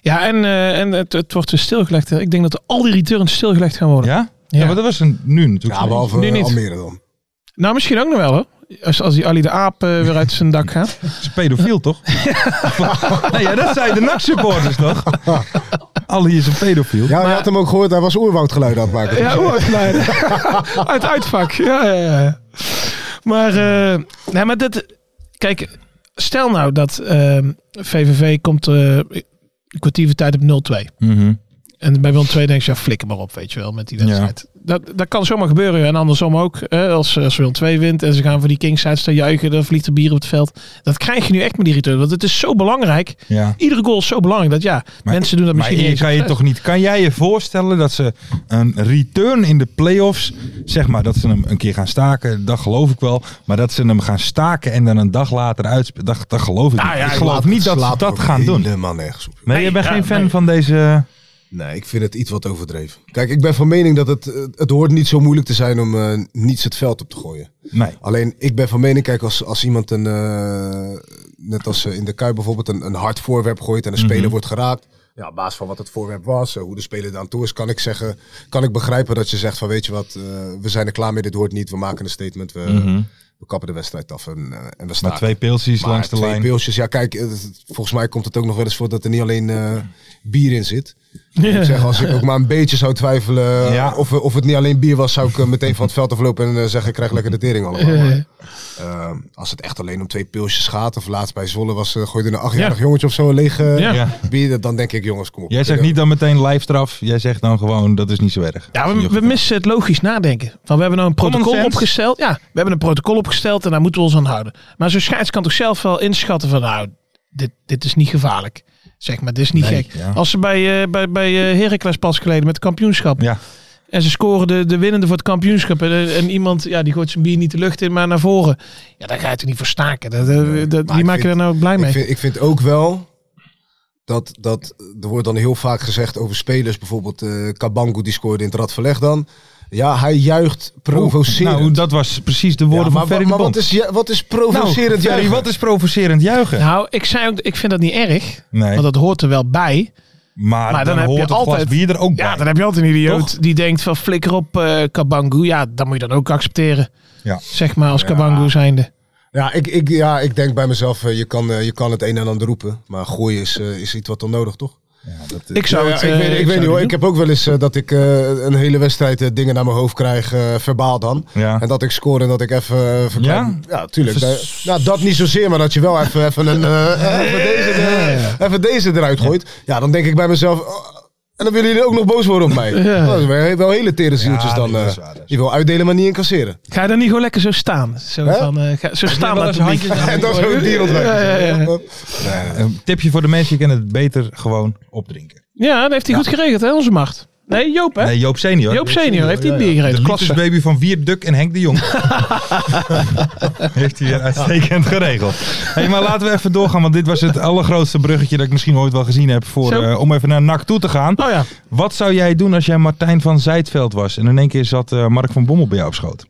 S4: Ja, en, eh, en het, het wordt dus stilgelegd. hè. Ik denk dat al die returns stilgelegd gaan worden.
S3: Ja? Ja, maar dat was een, nu natuurlijk.
S5: Ja,
S3: zo.
S5: behalve
S4: Nu niet.
S5: Almere dan.
S4: Nou, misschien ook nog wel hoor. Als, als die Ali de Aap eh, weer uit zijn dak gaat.
S3: Het is een pedofiel,
S4: *laughs*
S3: toch? nee, ja, dat zijn de NAC-supporters, toch? Ali is een pedofiel.
S5: Ja, je had hem ook gehoord, hij was oerwoudgeluiden aan het maken.
S3: *laughs*
S4: Ja, *laughs* oorlogsleider. Uit uitvak. Ja, ja, ja. Maar, eh, nee, maar dat, kijk, stel nou dat eh, VVV komt eh een kwartier voor tijd op 0-2.
S3: Mhm.
S4: En bij Willem 2 denk je, ja, flikker maar op, weet je wel, met die wedstrijd. Dat, dat kan zomaar gebeuren. En andersom ook, hè, als, als Willem 2 wint en ze gaan voor die Kingside staan juichen, dan vliegt er bier op het veld. Dat krijg je nu echt met die return, want het is zo belangrijk.
S3: ja.
S4: Iedere goal is zo belangrijk dat ja, mensen doen dat
S3: Maar
S4: misschien niet
S3: je,
S4: eens
S3: kan,
S4: op
S3: je
S4: de
S3: toch niet, kan jij je voorstellen dat ze een return in de play-offs, zeg maar dat ze hem een keer gaan staken, dat geloof ik wel. Maar dat ze hem gaan staken en dan een dag later uitspelen, dat, dat geloof ik niet. Ik geloof niet dat ze dat gaan doen.
S5: Helemaal nergens op.
S3: Nee, je bent geen fan van deze...
S5: Nee, ik vind het iets wat overdreven. Kijk, ik ben van mening dat het, eh, het hoort niet zo moeilijk te zijn om eh, niets het veld op te gooien.
S3: Nee.
S5: Alleen, ik ben van mening, kijk, als, als iemand een, eh, net als eh, in de Kuip bijvoorbeeld, een, een hard voorwerp gooit en een
S3: Mhm.
S5: speler wordt geraakt. Ja, op basis van wat het voorwerp was, eh, hoe de speler daar aan toe is, kan ik zeggen, kan ik begrijpen dat je zegt van, weet je wat, eh, we zijn er klaar mee, dit hoort niet, we maken een statement, we, we kappen de wedstrijd af en, eh, en we staan.
S3: Mhm. Maar twee pilsjes langs de
S5: twee
S3: lijn.
S5: pilsjes, ja kijk, eh, dat- volgens mij komt het ook nog wel eens voor dat er niet alleen eh, bier in zit. Ik moet zeggen, als ik ook maar een beetje zou twijfelen
S3: Ja.
S5: of, eh, of het niet alleen bier was, zou ik eh, meteen van het veld aflopen en eh, zeggen, ik krijg lekker de tering allemaal. Maar, ehm, als het echt alleen om twee pilsjes gaat, of laatst bij Zwolle was, eh, gooide een achtjarig
S4: Ja.
S5: jongetje of zo een lege
S4: Ja.
S3: Ja.
S5: bier, dat- dan denk ik, eh, jongens, kom op.
S3: Jij zegt niet dan meteen lijfstraf, jij zegt dan gewoon dat is niet zo erg.
S4: *laughs* Ja, we, we missen het logisch nadenken. Van, we hebben nou een
S3: Common
S4: protocol
S3: sense.
S4: opgesteld. Ja, we hebben een protocol opgesteld en daar moeten we ons aan houden. Maar zo'n scheids kan toch zelf wel inschatten van nou, dit, dit is niet gevaarlijk. Zeg maar, dit is niet
S3: Nee,
S4: gek.
S3: ja.
S4: Als ze bij, eh bij, bij eh, Heracles pas geleden met het kampioenschap.
S3: Ja.
S4: En ze scoren de, de winnende voor het kampioenschap. En, eh, en iemand, ja, die gooit zijn bier niet de lucht in, maar naar voren. Ja, daar ga je het niet voor staken. Dat, dat- dat,
S5: maar
S4: die
S5: ik
S4: maken
S5: vind-
S4: er nou blij mee.
S5: Ik vind, ik vind ook wel dat, dat er wordt dan heel vaak gezegd over spelers, bijvoorbeeld eh Kabangu die scoorde in het Radverleg dan. Ja, hij juicht provocerend.
S3: Nou, dat was precies de woorden
S5: Ja, maar,
S3: van Ferry
S5: wa-
S3: de
S5: maar
S3: Bond.
S5: wat is, ju- wat is provocerend
S3: nou, Ferry,
S5: juichen?
S3: wat is provocerend juichen?
S4: nou, ik zei ook, ik vind dat niet erg.
S3: Nee.
S4: Want dat hoort er wel bij.
S3: Maar, dan,
S4: Maar dan heb je
S3: hoort het glas
S4: altijd-
S3: bier er ook bij.
S4: Ja, dan heb je altijd een idioot
S3: Toch?
S4: die denkt van flikker op eh Kabangu. Ja, dan moet je dan ook accepteren.
S3: Ja.
S4: Zeg maar als Kabangu zijnde.
S5: Ja, ik, ik, ja, ik denk bij mezelf, eh, je kan, eh, je kan het een en ander roepen. Maar gooien is, eh, is iets wat onnodig, toch?
S4: Ik zou
S5: Ja, ja,
S4: het...
S5: ik
S4: eh,
S5: weet, ik
S4: zou
S5: weet niet hoor.
S4: het
S5: Ik heb ook wel eens eh, dat ik eh, een hele wedstrijd eh, dingen naar mijn hoofd krijg, eh, verbaal dan.
S3: Ja.
S5: En dat ik scoor en dat ik even eh, verklaar-
S3: Ja?
S5: Ja, tuurlijk.
S3: Even
S5: Eh,
S3: s-
S5: nou, dat niet zozeer, maar dat je wel even, even,
S3: *laughs*
S5: een, eh, even, deze, eh, even deze eruit gooit. Ja, dan denk ik bij mezelf... oh, en dan willen jullie ook nog boos worden op mij.
S4: *laughs*
S5: Dat is wel- wel hele tere zieltjes
S3: Ja,
S5: dan.
S3: nee, dat
S5: eh,
S3: is waar, dat is
S5: die wil uitdelen, maar niet incasseren.
S4: doen. Ga je dan niet gewoon lekker zo staan? Zo,
S5: Hè?
S4: van, eh, ga, zo staan
S3: wel
S4: dat
S3: eens
S4: publiek.
S3: handjes
S5: *laughs* En dan zo'n dier
S4: Ja, ja, ja.
S5: ontwijken.
S3: Een tipje voor de mensen, je kan het beter gewoon opdrinken.
S4: Ja, dat heeft hij goed geregeld hè, onze macht. Nee, Joop hè?
S3: Nee, Joop senior.
S4: Joop senior heeft hij het bier
S3: De
S4: geregeld. Klasse.
S3: liefdesbaby van Wierduk en Henk de
S4: *laughs*
S3: Jong. Heeft hij weer uitstekend geregeld. Hey, maar laten we even doorgaan, want dit was het allergrootste bruggetje dat ik misschien ooit wel gezien heb. Voor,
S4: Zo.
S3: eh, om even naar NAC toe te gaan.
S4: Oh ja. *laughs*
S3: Wat zou jij doen als jij Martijn van Zijtveld was en in één keer zat eh, Mark van Bommel bij jou op schoot?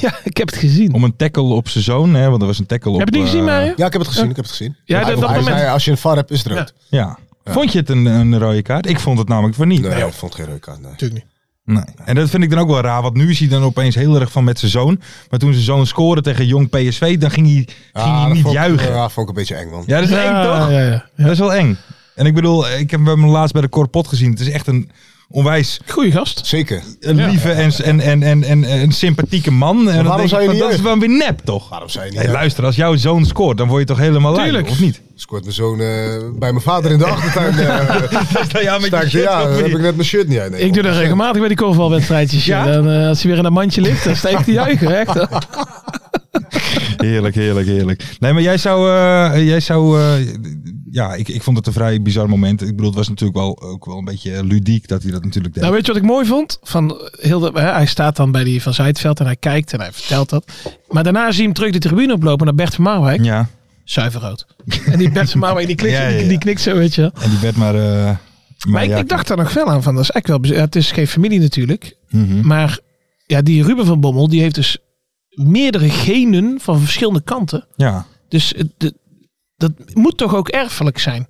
S4: ja, ik heb het gezien.
S3: Om een tackle op zijn zoon, hè, want er was een tackle op...
S4: heb je het niet
S3: eh,
S4: gezien, Mario?
S5: Ja, ik heb het gezien. Ik heb het gezien.
S4: Ja,
S5: Hij-
S4: dat- dat
S5: hij
S4: moment-
S5: zei, Als je een VAR hebt, is het rood.
S3: Ja. Vond je het een, een rode kaart? Ik vond het namelijk van niet.
S5: Nee, ik vond geen reuk aan. nee.
S4: Natuurlijk niet.
S3: Nee. En dat vind ik dan ook wel raar, want nu is hij dan opeens heel erg van met zijn zoon. Maar toen zijn zoon scoorde tegen jong PSV, dan ging hij, ging
S5: Ah,
S3: hij
S5: dat
S3: niet
S5: vond ik-
S3: juichen.
S5: Ja, vond ik een beetje eng, man.
S3: Ja, dat
S4: Dus
S3: is eng toch?
S4: Ja, ja.
S3: Dat is wel eng. En ik bedoel, ik heb hem laatst bij de Korpot gezien. Het is echt een onwijs
S4: Goeie gast.
S5: Zeker.
S3: een lieve en, en, en, en, en een sympathieke man. En dan
S5: waarom
S3: denk ik
S5: zou je
S3: van,
S5: niet
S3: dat is wel weer nep toch?
S5: Waarom zei je niet?
S3: Hey,
S5: ja?
S3: luister, als jouw zoon scoort, dan word je toch helemaal lui,
S4: Tuurlijk.
S3: of niet?
S5: Scoort mijn zoon eh, bij mijn vader in de achtertuin.
S3: *laughs*
S5: eh
S3: ja, met
S5: sta ik- *laughs* ja, dan heb ik net mijn shirt niet aan. Nee,
S4: Ik doe dat regelmatig bij die korfbalwedstrijdjes.
S3: Ja?
S4: ja? Dan, eh, als hij weer in dat mandje ligt, dan steekt hij juichen. *laughs* Echt, hè?
S3: Heerlijk, heerlijk, heerlijk. Nee, maar jij zou... eh, jij zou eh, ja, ik, ik vond het een vrij bizar moment. Ik bedoel, het was natuurlijk wel, ook wel een beetje ludiek dat hij dat natuurlijk deed.
S4: Nou, weet je wat ik mooi vond? Van heel de, hè, hij staat dan bij die van Zijtveld en hij kijkt en hij vertelt dat. Maar daarna zie je hem terug de tribune oplopen naar Bert van Marwijk.
S3: ja,
S4: Zuiver rood. En die Bert van Marwijk die knikt,
S3: Ja, ja, ja.
S4: Die, die knikt zo, weet je wel.
S3: en die werd maar... eh, maar
S4: Maar ik,
S3: ja,
S4: ik dacht daar nog wel aan van, dat is echt wel... bez- ja, Het is geen familie natuurlijk.
S3: Mhm.
S4: Maar ja, die Ruben van Bommel, die heeft dus meerdere genen van verschillende kanten.
S3: Ja,
S4: Dus het- de- dat moet toch ook erfelijk zijn?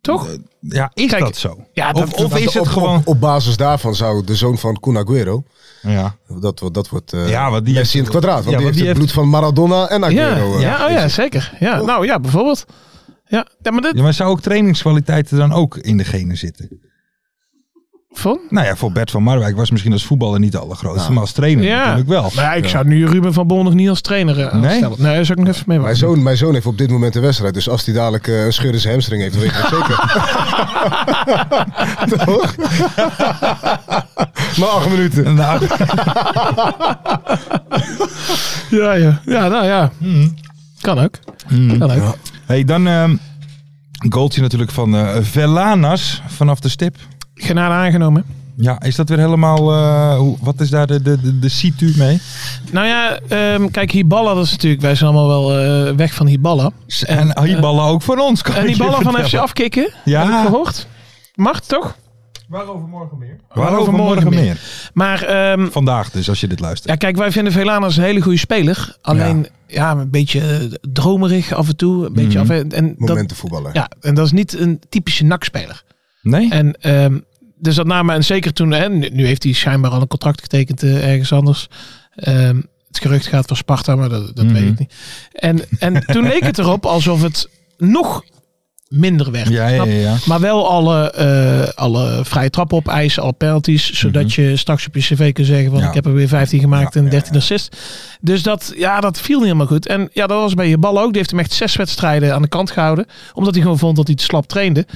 S4: Toch?
S3: Ja, is
S4: Kijk,
S3: dat zo?
S4: ja, dat-
S3: of of
S5: Want
S3: is
S5: op,
S3: het gewoon...
S5: Op, op basis daarvan zou de zoon van Kun Aguero,
S3: ja.
S5: dat, wordt- dat wordt eh
S3: Ja, want die
S5: Messi in
S3: heeft-
S5: het kwadraat. Want
S3: ja, want
S5: die heeft
S3: die
S5: het bloed
S3: heeft-
S5: van Maradona en
S4: Ja,
S5: Aguero.
S4: ja,
S5: eh.
S4: oh ja, zeker. Ja, nou ja, bijvoorbeeld. Ja, ja maar dat...
S3: ja, maar zou ook trainingskwaliteiten dan ook in de genen zitten?
S4: Van?
S3: Nou ja, voor Bert van Marwijk was misschien als voetballer niet de allergrootste, maar als trainer
S4: Ja.
S3: natuurlijk wel.
S4: Maar ik zou nu Ruben van Bol nog niet als trainer eh,
S3: Nee?
S4: aanstellen. Nee, dat zou ik nog even mee
S5: Mijn zoon, mijn zoon heeft op dit moment een wedstrijd. Dus als hij dadelijk eh, een scheur in zijn hamstring heeft, dan weet ik dat
S3: *laughs*
S5: zeker. Toch? maar acht
S3: *laughs*
S5: minuten.
S3: Nou,
S4: Ja, ja. ja, nou ja. Kan ook.
S3: Hmm.
S4: Kan ook.
S3: hey, dan ehm goaltje natuurlijk van eh Velanas vanaf de stip.
S4: Genade aangenomen.
S3: Ja, is dat weer helemaal... eh, hoe, wat is daar de, de, de, de situ mee?
S4: Nou ja, ehm, kijk, Hiballa, dat is natuurlijk... Wij zijn allemaal wel eh, weg van Hiballa.
S3: En, die ballen ook voor ons. kan
S4: eh, En
S3: ik je
S4: Hiballa van
S3: vertellen.
S4: FC afkicken,
S3: Ja.
S4: heb ik gehoord. Mag, toch?
S3: Waarover morgen
S4: morgen
S3: meer?
S4: Maar ehm,
S3: Vandaag dus, als je dit luistert.
S4: Ja, kijk, wij vinden Velanas een hele goede speler. Alleen, ja, een beetje eh, dromerig af en toe. Een beetje
S3: Mhm.
S4: af en, en dat,
S5: Momenten voetballen.
S4: ja, en dat is niet een typische nakspeler.
S3: Nee?
S4: En ehm, dus dat namen, en zeker toen, hè, nu nu heeft hij schijnbaar al een contract getekend eh, ergens anders. Ehm, het gerucht gaat van Sparta, maar dat, dat
S3: Mhm.
S4: weet ik niet. En, en toen leek het erop alsof het nog minder werd.
S3: Ja, ja,
S4: Snap?
S3: ja, ja.
S4: Maar wel alle, eh, alle vrije trappen op ijs, alle penalties. Zodat je straks op je cv kunt zeggen van
S3: Mhm. Ja.
S4: ik heb er weer 15 gemaakt
S3: Ja,
S4: en
S3: ja,
S4: 13 assists. Dus dat, ja, dat viel niet helemaal goed. En ja, dat was bij je bal ook. Die heeft hem echt zes wedstrijden aan de kant gehouden. Omdat hij gewoon vond dat hij te slap trainde.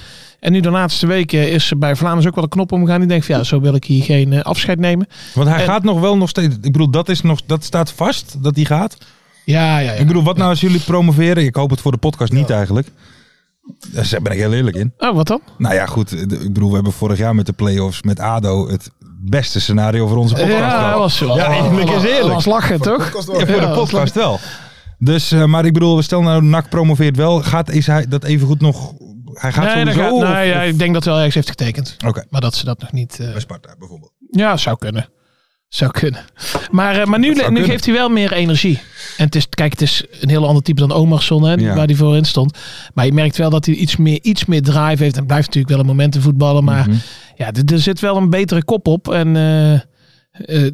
S4: En nu de laatste weken is er bij Vlaanders ook wel een knop omgaan. Die denkt van ja, zo wil ik hier geen eh, afscheid nemen.
S3: Want hij
S4: En-
S3: gaat nog wel nog steeds. Ik bedoel, dat, is nog, dat staat vast dat hij gaat.
S4: Ja, ja, ja.
S3: Ik bedoel, wat nou als jullie promoveren? Ik hoop het voor de podcast niet eigenlijk. Daar ben ik heel eerlijk in.
S4: Oh, wat dan?
S3: Nou ja, goed. de- Ik bedoel, we hebben vorig jaar met de play-offs met ADO het beste scenario voor onze podcast
S4: Ja,
S3: gehad.
S4: dat was zo.
S3: Ja, eerlijk is eerlijk.
S4: Dat was lachen, toch?
S5: Kost wel-
S3: Ja, voor
S4: Ja,
S3: de
S4: dat was
S3: podcast wel. Dus, eh, maar ik bedoel, stel nou NAC promoveert wel. Gaat, is hij dat even goed nog... Hij gaat
S4: Nee, dat
S3: sowieso...
S4: gaat-
S3: of-
S4: nee, ja,
S3: of-
S4: ik denk dat hij wel ergens heeft getekend.
S3: Oké,
S4: Maar dat ze dat nog niet... eh,
S3: bij Sparta bijvoorbeeld.
S4: Ja, zou kunnen. Zou kunnen. Maar, eh, maar nu, nu
S3: zou kunnen.
S4: geeft hij wel meer energie. En het is, kijk, het is een heel ander type dan Omarsson, hè, die-
S3: Ja.
S4: waar hij voorin stond. Maar je merkt wel dat hij iets meer, iets meer drive heeft. En blijft natuurlijk wel een momenten voetballen. Maar
S3: Mhm.
S4: ja, er, er zit wel een betere kop op. En, eh, eh,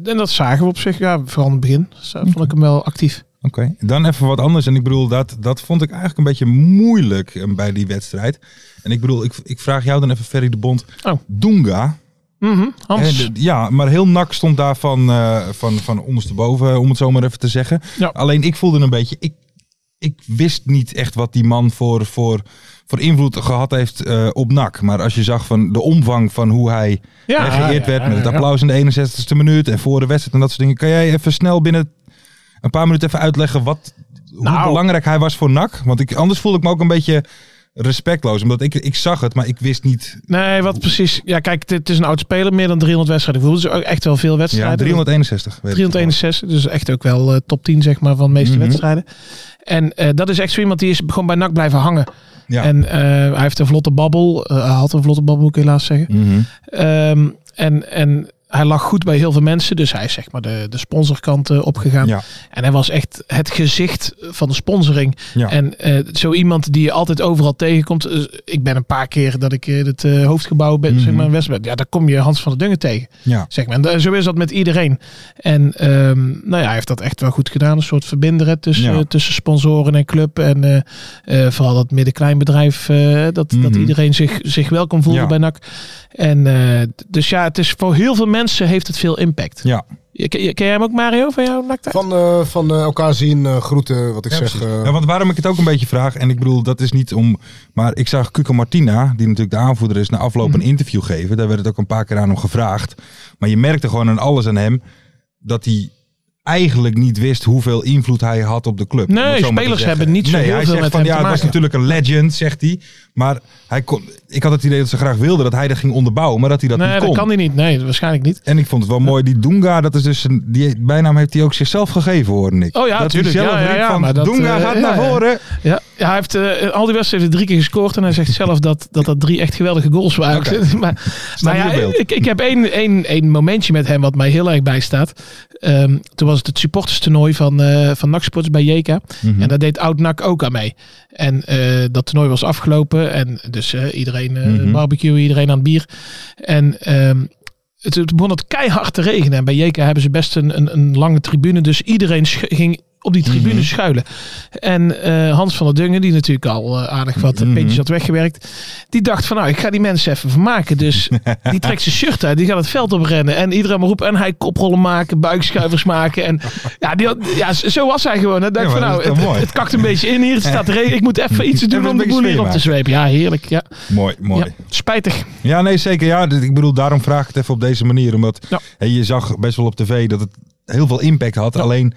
S4: en dat zagen we op zich. Ja, vooral in het begin Zo vond ik hem wel actief.
S3: Oké, dan even wat anders. En ik bedoel, dat, dat vond ik eigenlijk een beetje moeilijk eh, bij die wedstrijd. En ik bedoel, ik, ik vraag jou dan even, Ferry de Bond.
S4: Oh.
S3: Dunga.
S4: Mhm, Hans.
S3: Hè, de- ja, maar heel nak stond daar van, eh, van, van ondersteboven, om het zo maar even te zeggen.
S4: Ja.
S3: Alleen ik voelde een beetje, ik, ik wist niet echt wat die man voor, voor, voor invloed gehad heeft eh, op nak. Maar als je zag van de omvang van hoe hij
S4: ja,
S3: hè, geëerd
S4: ja,
S3: werd
S4: ja,
S3: met het
S4: ja.
S3: applaus in de 61ste minuut en voor de wedstrijd en dat soort dingen. Kan jij even snel binnen een paar minuten even uitleggen wat, hoe
S4: Nou.
S3: belangrijk hij was voor NAC? Want ik, anders voelde ik me ook een beetje respectloos. Omdat ik, ik zag het, maar ik wist niet.
S4: Nee, wat precies. Ja, kijk, het is een oud speler. Meer dan 300 wedstrijden. Ik bedoel, dus ook echt wel veel
S3: Ja,
S4: wedstrijden.
S3: 361. weet ik het wel.
S4: 361, dus echt ook wel eh, top 10 zeg maar van de meeste
S3: Mhm.
S4: wedstrijden. En eh, dat is echt zo iemand die is gewoon bij NAC blijven hangen.
S3: Ja.
S4: En eh, hij heeft een vlotte babbel, eh, hij had een vlotte babbel moet ik helaas zeggen.
S3: Mhm.
S4: Ehm, en, en hij lag goed bij heel veel mensen, dus hij is zeg maar de, de sponsorkant eh, opgegaan.
S3: Ja.
S4: En hij was echt het gezicht van de sponsoring.
S3: Ja.
S4: En eh, zo iemand die je altijd overal tegenkomt. Eh, ik ben een paar keer dat ik in het eh, hoofdgebouw
S3: Mhm.
S4: ben, zeg maar in West ben. Ja, daar kom je Hans van der Dungen tegen.
S3: Ja.
S4: Zeg maar. En da- zo is dat met iedereen. En ehm, nou ja, hij heeft dat echt wel goed gedaan. Een soort verbinderen tussen,
S3: Ja.
S4: tussen sponsoren en club. En eh, eh, vooral dat midden-kleinbedrijf. eh, dat, dat
S3: Mhm.
S4: iedereen zich, zich welkom voelde
S3: Ja.
S4: bij NAC. En, eh, d- dus ja, het is voor heel veel mensen heeft het veel impact.
S3: Ja.
S4: Je- Ken, je- ken jij hem ook, Mario, van jouw NAC?
S5: Van, eh, van eh, elkaar zien, eh, groeten, wat ik
S3: Ja,
S5: zeg.
S3: precies.
S5: eh,
S3: Ja, want waarom ik het ook een beetje vraag, en ik bedoel, dat is niet om. Maar ik zag Cuco Martina, die natuurlijk de aanvoerder is, na afloop
S4: Mhm.
S3: een interview geven. Daar werd het ook een paar keer aan hem gevraagd. Maar je merkte gewoon aan alles aan hem dat hij eigenlijk niet wist hoeveel invloed hij had op de club.
S4: Nee,
S3: Om het zo maar te
S4: spelers
S3: zeggen.
S4: hebben niet zo
S3: nee,
S4: heel
S3: hij
S4: veel
S3: zegt
S4: met
S3: van,
S4: hem
S3: ja,
S4: te
S3: Het was
S4: maken.
S3: natuurlijk een legend, zegt hij. Maar hij kon, ik had het idee dat ze graag wilden dat hij dat ging onderbouwen, maar dat hij dat
S4: nee,
S3: niet kon.
S4: dat kan hij niet. Nee, waarschijnlijk niet.
S3: En ik vond het wel mooi, die Dunga, dat is dus een, die bijnaam heeft hij ook zichzelf gegeven, hoorde ik.
S4: Oh ja,
S3: dat hij
S4: tuurlijk.
S3: zelf
S4: Ja, ja,
S3: riep
S4: ja,
S3: van,
S4: maar dat,
S3: Dunga
S4: eh,
S3: gaat
S4: ja,
S3: naar
S4: ja.
S3: voren.
S4: Ja, ja, hij heeft eh, al die wedstrijden drie keer gescoord. En hij zegt zelf dat dat, dat drie echt geweldige goals waren.
S3: Oké.
S4: *laughs* maar maar
S3: hier
S4: ja,
S3: op beeld.
S4: ik, ik heb één, één, één momentje met hem wat mij heel erg bijstaat. Eh, Ehm, toen was het het supporterstoernooi van, eh van NAC Sports bij JK.
S3: Mhm.
S4: En daar deed Oud NAC ook aan mee. En eh, dat toernooi was afgelopen. En dus eh, iedereen eh,
S3: Mhm.
S4: barbecue, iedereen aan het bier. En ehm, het, het begon het keihard te regenen. En bij JK hebben ze best een, een, een lange tribune. Dus iedereen sch- ging op die tribune
S3: Mhm.
S4: schuilen. En eh, Hans van der Dungen, die natuurlijk al eh, aardig wat
S3: Mhm.
S4: mm had weggewerkt. Die dacht van nou, ik ga die mensen even
S3: *laughs*
S4: vermaken. Dus die trekt zijn shirt uit. Die gaat het veld oprennen. En iedereen maar roept. En hij koprollen maken, buikschuivers
S3: *laughs*
S4: maken. En ja, die had- ja z- zo was hij gewoon. Hij dacht
S3: Ja, maar
S4: van
S3: dat
S4: nou,
S3: is toch
S4: het,
S3: mooi?
S4: het kakt een beetje in hier. Het staat regen. Ik moet
S3: *laughs*
S4: even iets
S3: Even
S4: doen
S3: een
S4: om de
S3: beetje
S4: boel hier
S3: sfeer
S4: op te
S3: maken.
S4: zwepen. Ja, heerlijk. Ja.
S3: Mooi, mooi.
S4: Ja, spijtig.
S3: Ja, nee, zeker. Ja, dit- ik bedoel, daarom vraag ik het even op deze manier. Omdat
S4: Ja.
S3: hè, je zag best wel op tv dat het heel veel impact had. Alleen,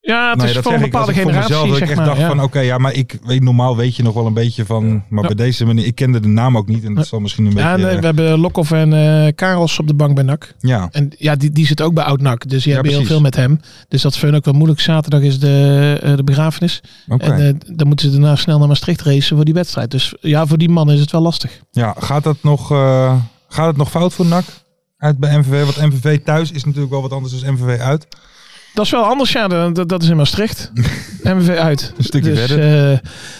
S4: Ja, het
S3: nou ja, dat
S4: is voor
S3: zeg
S4: een
S3: ik als
S4: bepaalde
S3: ik voor
S4: generatie,
S3: mezelf. Dat ik
S4: zeg
S3: echt
S4: maar.
S3: dacht
S4: ja.
S3: van, oh, oké, ja, maar ik weet normaal weet je nog wel een beetje van... Maar
S4: Ja.
S3: bij deze manier, ik kende de naam ook niet. En dat zal misschien een
S4: Ja,
S3: beetje...
S4: en, eh,
S3: eh,
S4: we hebben Lokhoff en eh Karels op de bank bij NAC.
S3: ja.
S4: En ja, die, die zit ook bij Oud-NAC. Dus die
S3: Ja,
S4: hebben heel
S3: precies.
S4: veel met hem. Dus dat is voor hen ook wel moeilijk. Zaterdag is de, eh, de begrafenis.
S3: oké.
S4: En eh, dan moeten ze daarna snel naar Maastricht racen voor die wedstrijd. Dus ja, voor die man is het wel lastig.
S3: Ja, gaat dat nog, eh, gaat het nog fout voor NAC uit bij MVV? Want MVV thuis is natuurlijk wel wat anders dan MVV uit.
S4: Dat is wel anders, ja. dan- Dat, dat is
S3: *laughs*
S4: in Maastricht. MVV uit.
S3: Een stukje
S4: dus,
S3: verder.
S4: eh,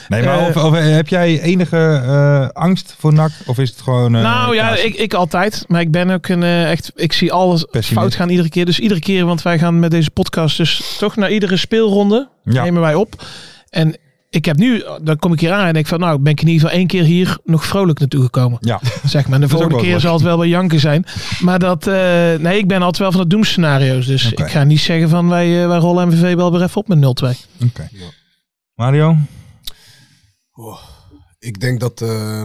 S3: Nee, maar
S4: Eh,
S3: of, of, eh, heb jij enige eh, angst voor NAC? Of is het gewoon... eh,
S4: nou ja,
S3: kaas?
S4: ik, ik altijd. Maar ik ben ook een eh, echt. Ik zie alles
S3: Pessimist.
S4: fout gaan iedere keer. Dus iedere keer, want wij gaan met deze podcast dus toch naar iedere speelronde
S3: Ja.
S4: nemen wij op. En ik heb nu, dan kom ik hier aan en denk van, nou, ben ik in ieder geval één keer hier nog vrolijk naartoe gekomen.
S3: *laughs* Ja.
S4: Zeg maar.
S3: Dat
S4: En de
S3: is ook
S4: volgende
S3: wel
S4: keer
S3: wat.
S4: zal het wel bij janken zijn. Maar dat, eh, nee, ik ben altijd wel van de doemscenario's. Dus
S3: Oké.
S4: ik ga niet zeggen van, wij, eh, wij rollen MVV wel weer even op met 0-2.
S3: Oké. Mario?
S5: Oh, Ik denk dat, eh,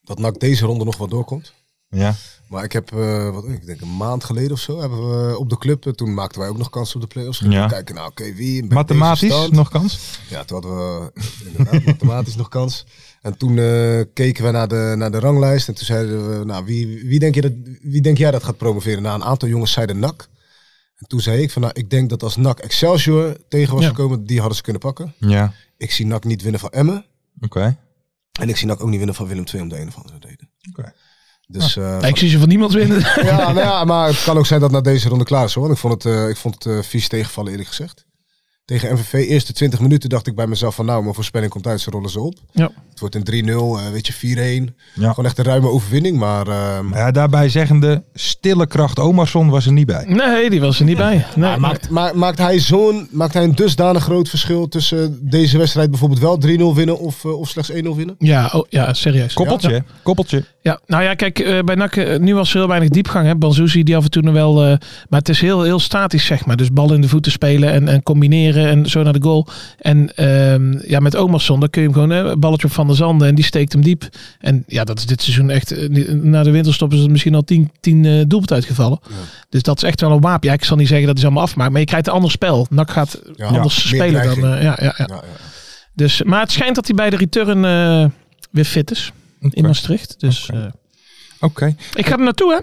S5: dat NAC deze ronde nog wel doorkomt.
S3: Ja.
S5: Maar ik heb, eh, wat, ik denk een maand geleden of zo, hebben we op de club, eh, toen maakten wij ook nog kans op de play-offs. Gingen
S3: Ja.
S5: we kijken, nou oké, wie? bij deze
S3: Mathematisch
S5: stand.
S3: nog kans?
S5: Ja, toen hadden we *laughs* inderdaad mathematisch nog kans. En toen eh, keken we naar de, naar de ranglijst en toen zeiden we, nou wie, wie, denk je dat, wie denk jij dat gaat promoveren? Nou, een aantal jongens zeiden NAC. En toen zei ik van, nou ik denk dat als NAC Excelsior tegen was
S4: Ja.
S5: gekomen, die hadden ze kunnen pakken.
S3: Ja.
S5: Ik zie NAC niet winnen van Emmen.
S3: Oké.
S5: En ik zie NAC ook niet winnen van Willem II om de een of andere reden.
S3: Oké.
S5: Dus, eh,
S4: ik zie ze van niemand winnen.
S5: ja, nou ja, maar het kan ook zijn dat na deze ronde klaar is hoor. Want ik vond het, eh, ik vond het eh, vies tegenvallen eerlijk gezegd. Tegen MVV, eerste 20 minuten dacht ik bij mezelf van nou, mijn voorspelling komt uit, ze rollen ze op.
S4: Ja.
S5: Het wordt een 3-0, eh, weet je, 4-1.
S3: Ja.
S5: Gewoon echt een ruime overwinning, maar ehm,
S3: Ja, daarbij zeggende, stille kracht Omarsson was er niet bij.
S4: Nee, die was er niet bij. Nee,
S5: maar maakt, maar, maakt, hij zo'n, maakt hij een dusdanig groot verschil tussen deze wedstrijd bijvoorbeeld wel 3-0 winnen of, eh, of slechts 1-0 winnen?
S4: Ja, oh, ja, serieus.
S3: Koppeltje,
S4: Ja,
S3: hè? koppeltje.
S4: ja. nou ja, kijk, eh, bij NAC, eh, nu was er heel weinig diepgang. Hè? Banzuzi die af en toe nog wel... eh, maar het is heel, heel statisch, zeg maar. Dus bal in de voeten spelen en, en combineren en zo naar de goal. En ehm, ja, met Omerson, dan kun je hem gewoon... eh, balletje op Van der Zanden en die steekt hem diep. En ja, dat is dit seizoen echt... eh, ni- na de winterstop is er misschien al tien, tien eh, doelpunten uitgevallen. Dus dat is echt wel een wapen. Ja, ik zal niet zeggen dat hij ze allemaal afmaakt. Maar je krijgt een ander spel. NAC gaat
S5: Ja,
S4: anders
S5: meer
S4: spelen dan...
S5: dreiging.
S4: eh, ja, ja, ja.
S5: Ja, ja.
S4: Dus, maar het schijnt dat hij bij de return eh, weer fit is.
S3: Oké.
S4: In Maastricht. Dus eh,
S3: Oké.
S4: ik ga er naartoe, hè?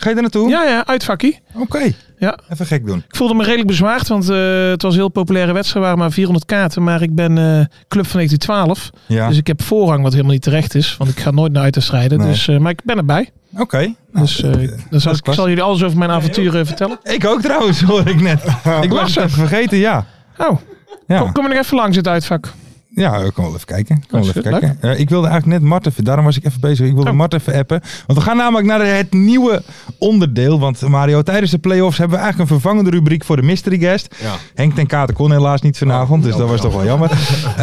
S3: Ga je er naartoe?
S4: Ja, ja, uitvakkie.
S3: Oké.
S4: Ja.
S3: Even gek doen.
S4: Ik voelde me redelijk bezwaard, want eh, het was een heel populaire wedstrijd. Er waren maar 400 kaarten, maar ik ben eh, club van 1912.
S3: Ja.
S4: Dus ik heb voorrang, wat helemaal niet terecht is. Want ik ga nooit naar uitwedstrijden.
S3: Ah. Nee. Ah,
S4: Dus, eh, maar ik ben erbij.
S3: Oké. Nou,
S4: dus eh, dan zal,
S3: is
S4: ik ik
S3: klasse.
S4: zal jullie alles over mijn avonturen vertellen.
S3: Ik ook trouwens, hoor ik
S4: *laughs*
S3: net. ik was het even vergeten, ja.
S4: Oh,
S3: Ja,
S4: kom, kom er nog even langs, het uitvak.
S3: ja ik kan wel even kijken. Kan wel even
S4: Leuk.
S3: kijken. Eh, ik wilde eigenlijk net Mart even, daarom was ik even bezig. Ik wilde
S4: Oh.
S3: Mart even appen. Want we gaan namelijk naar het nieuwe onderdeel. Want Mario, tijdens de play-offs hebben we eigenlijk een vervangende rubriek voor de mystery guest.
S5: Ja.
S3: Henk ten Katen kon helaas niet vanavond,
S5: Oh,
S3: dus dat was toch wel
S5: *laughs*
S3: jammer. Eh,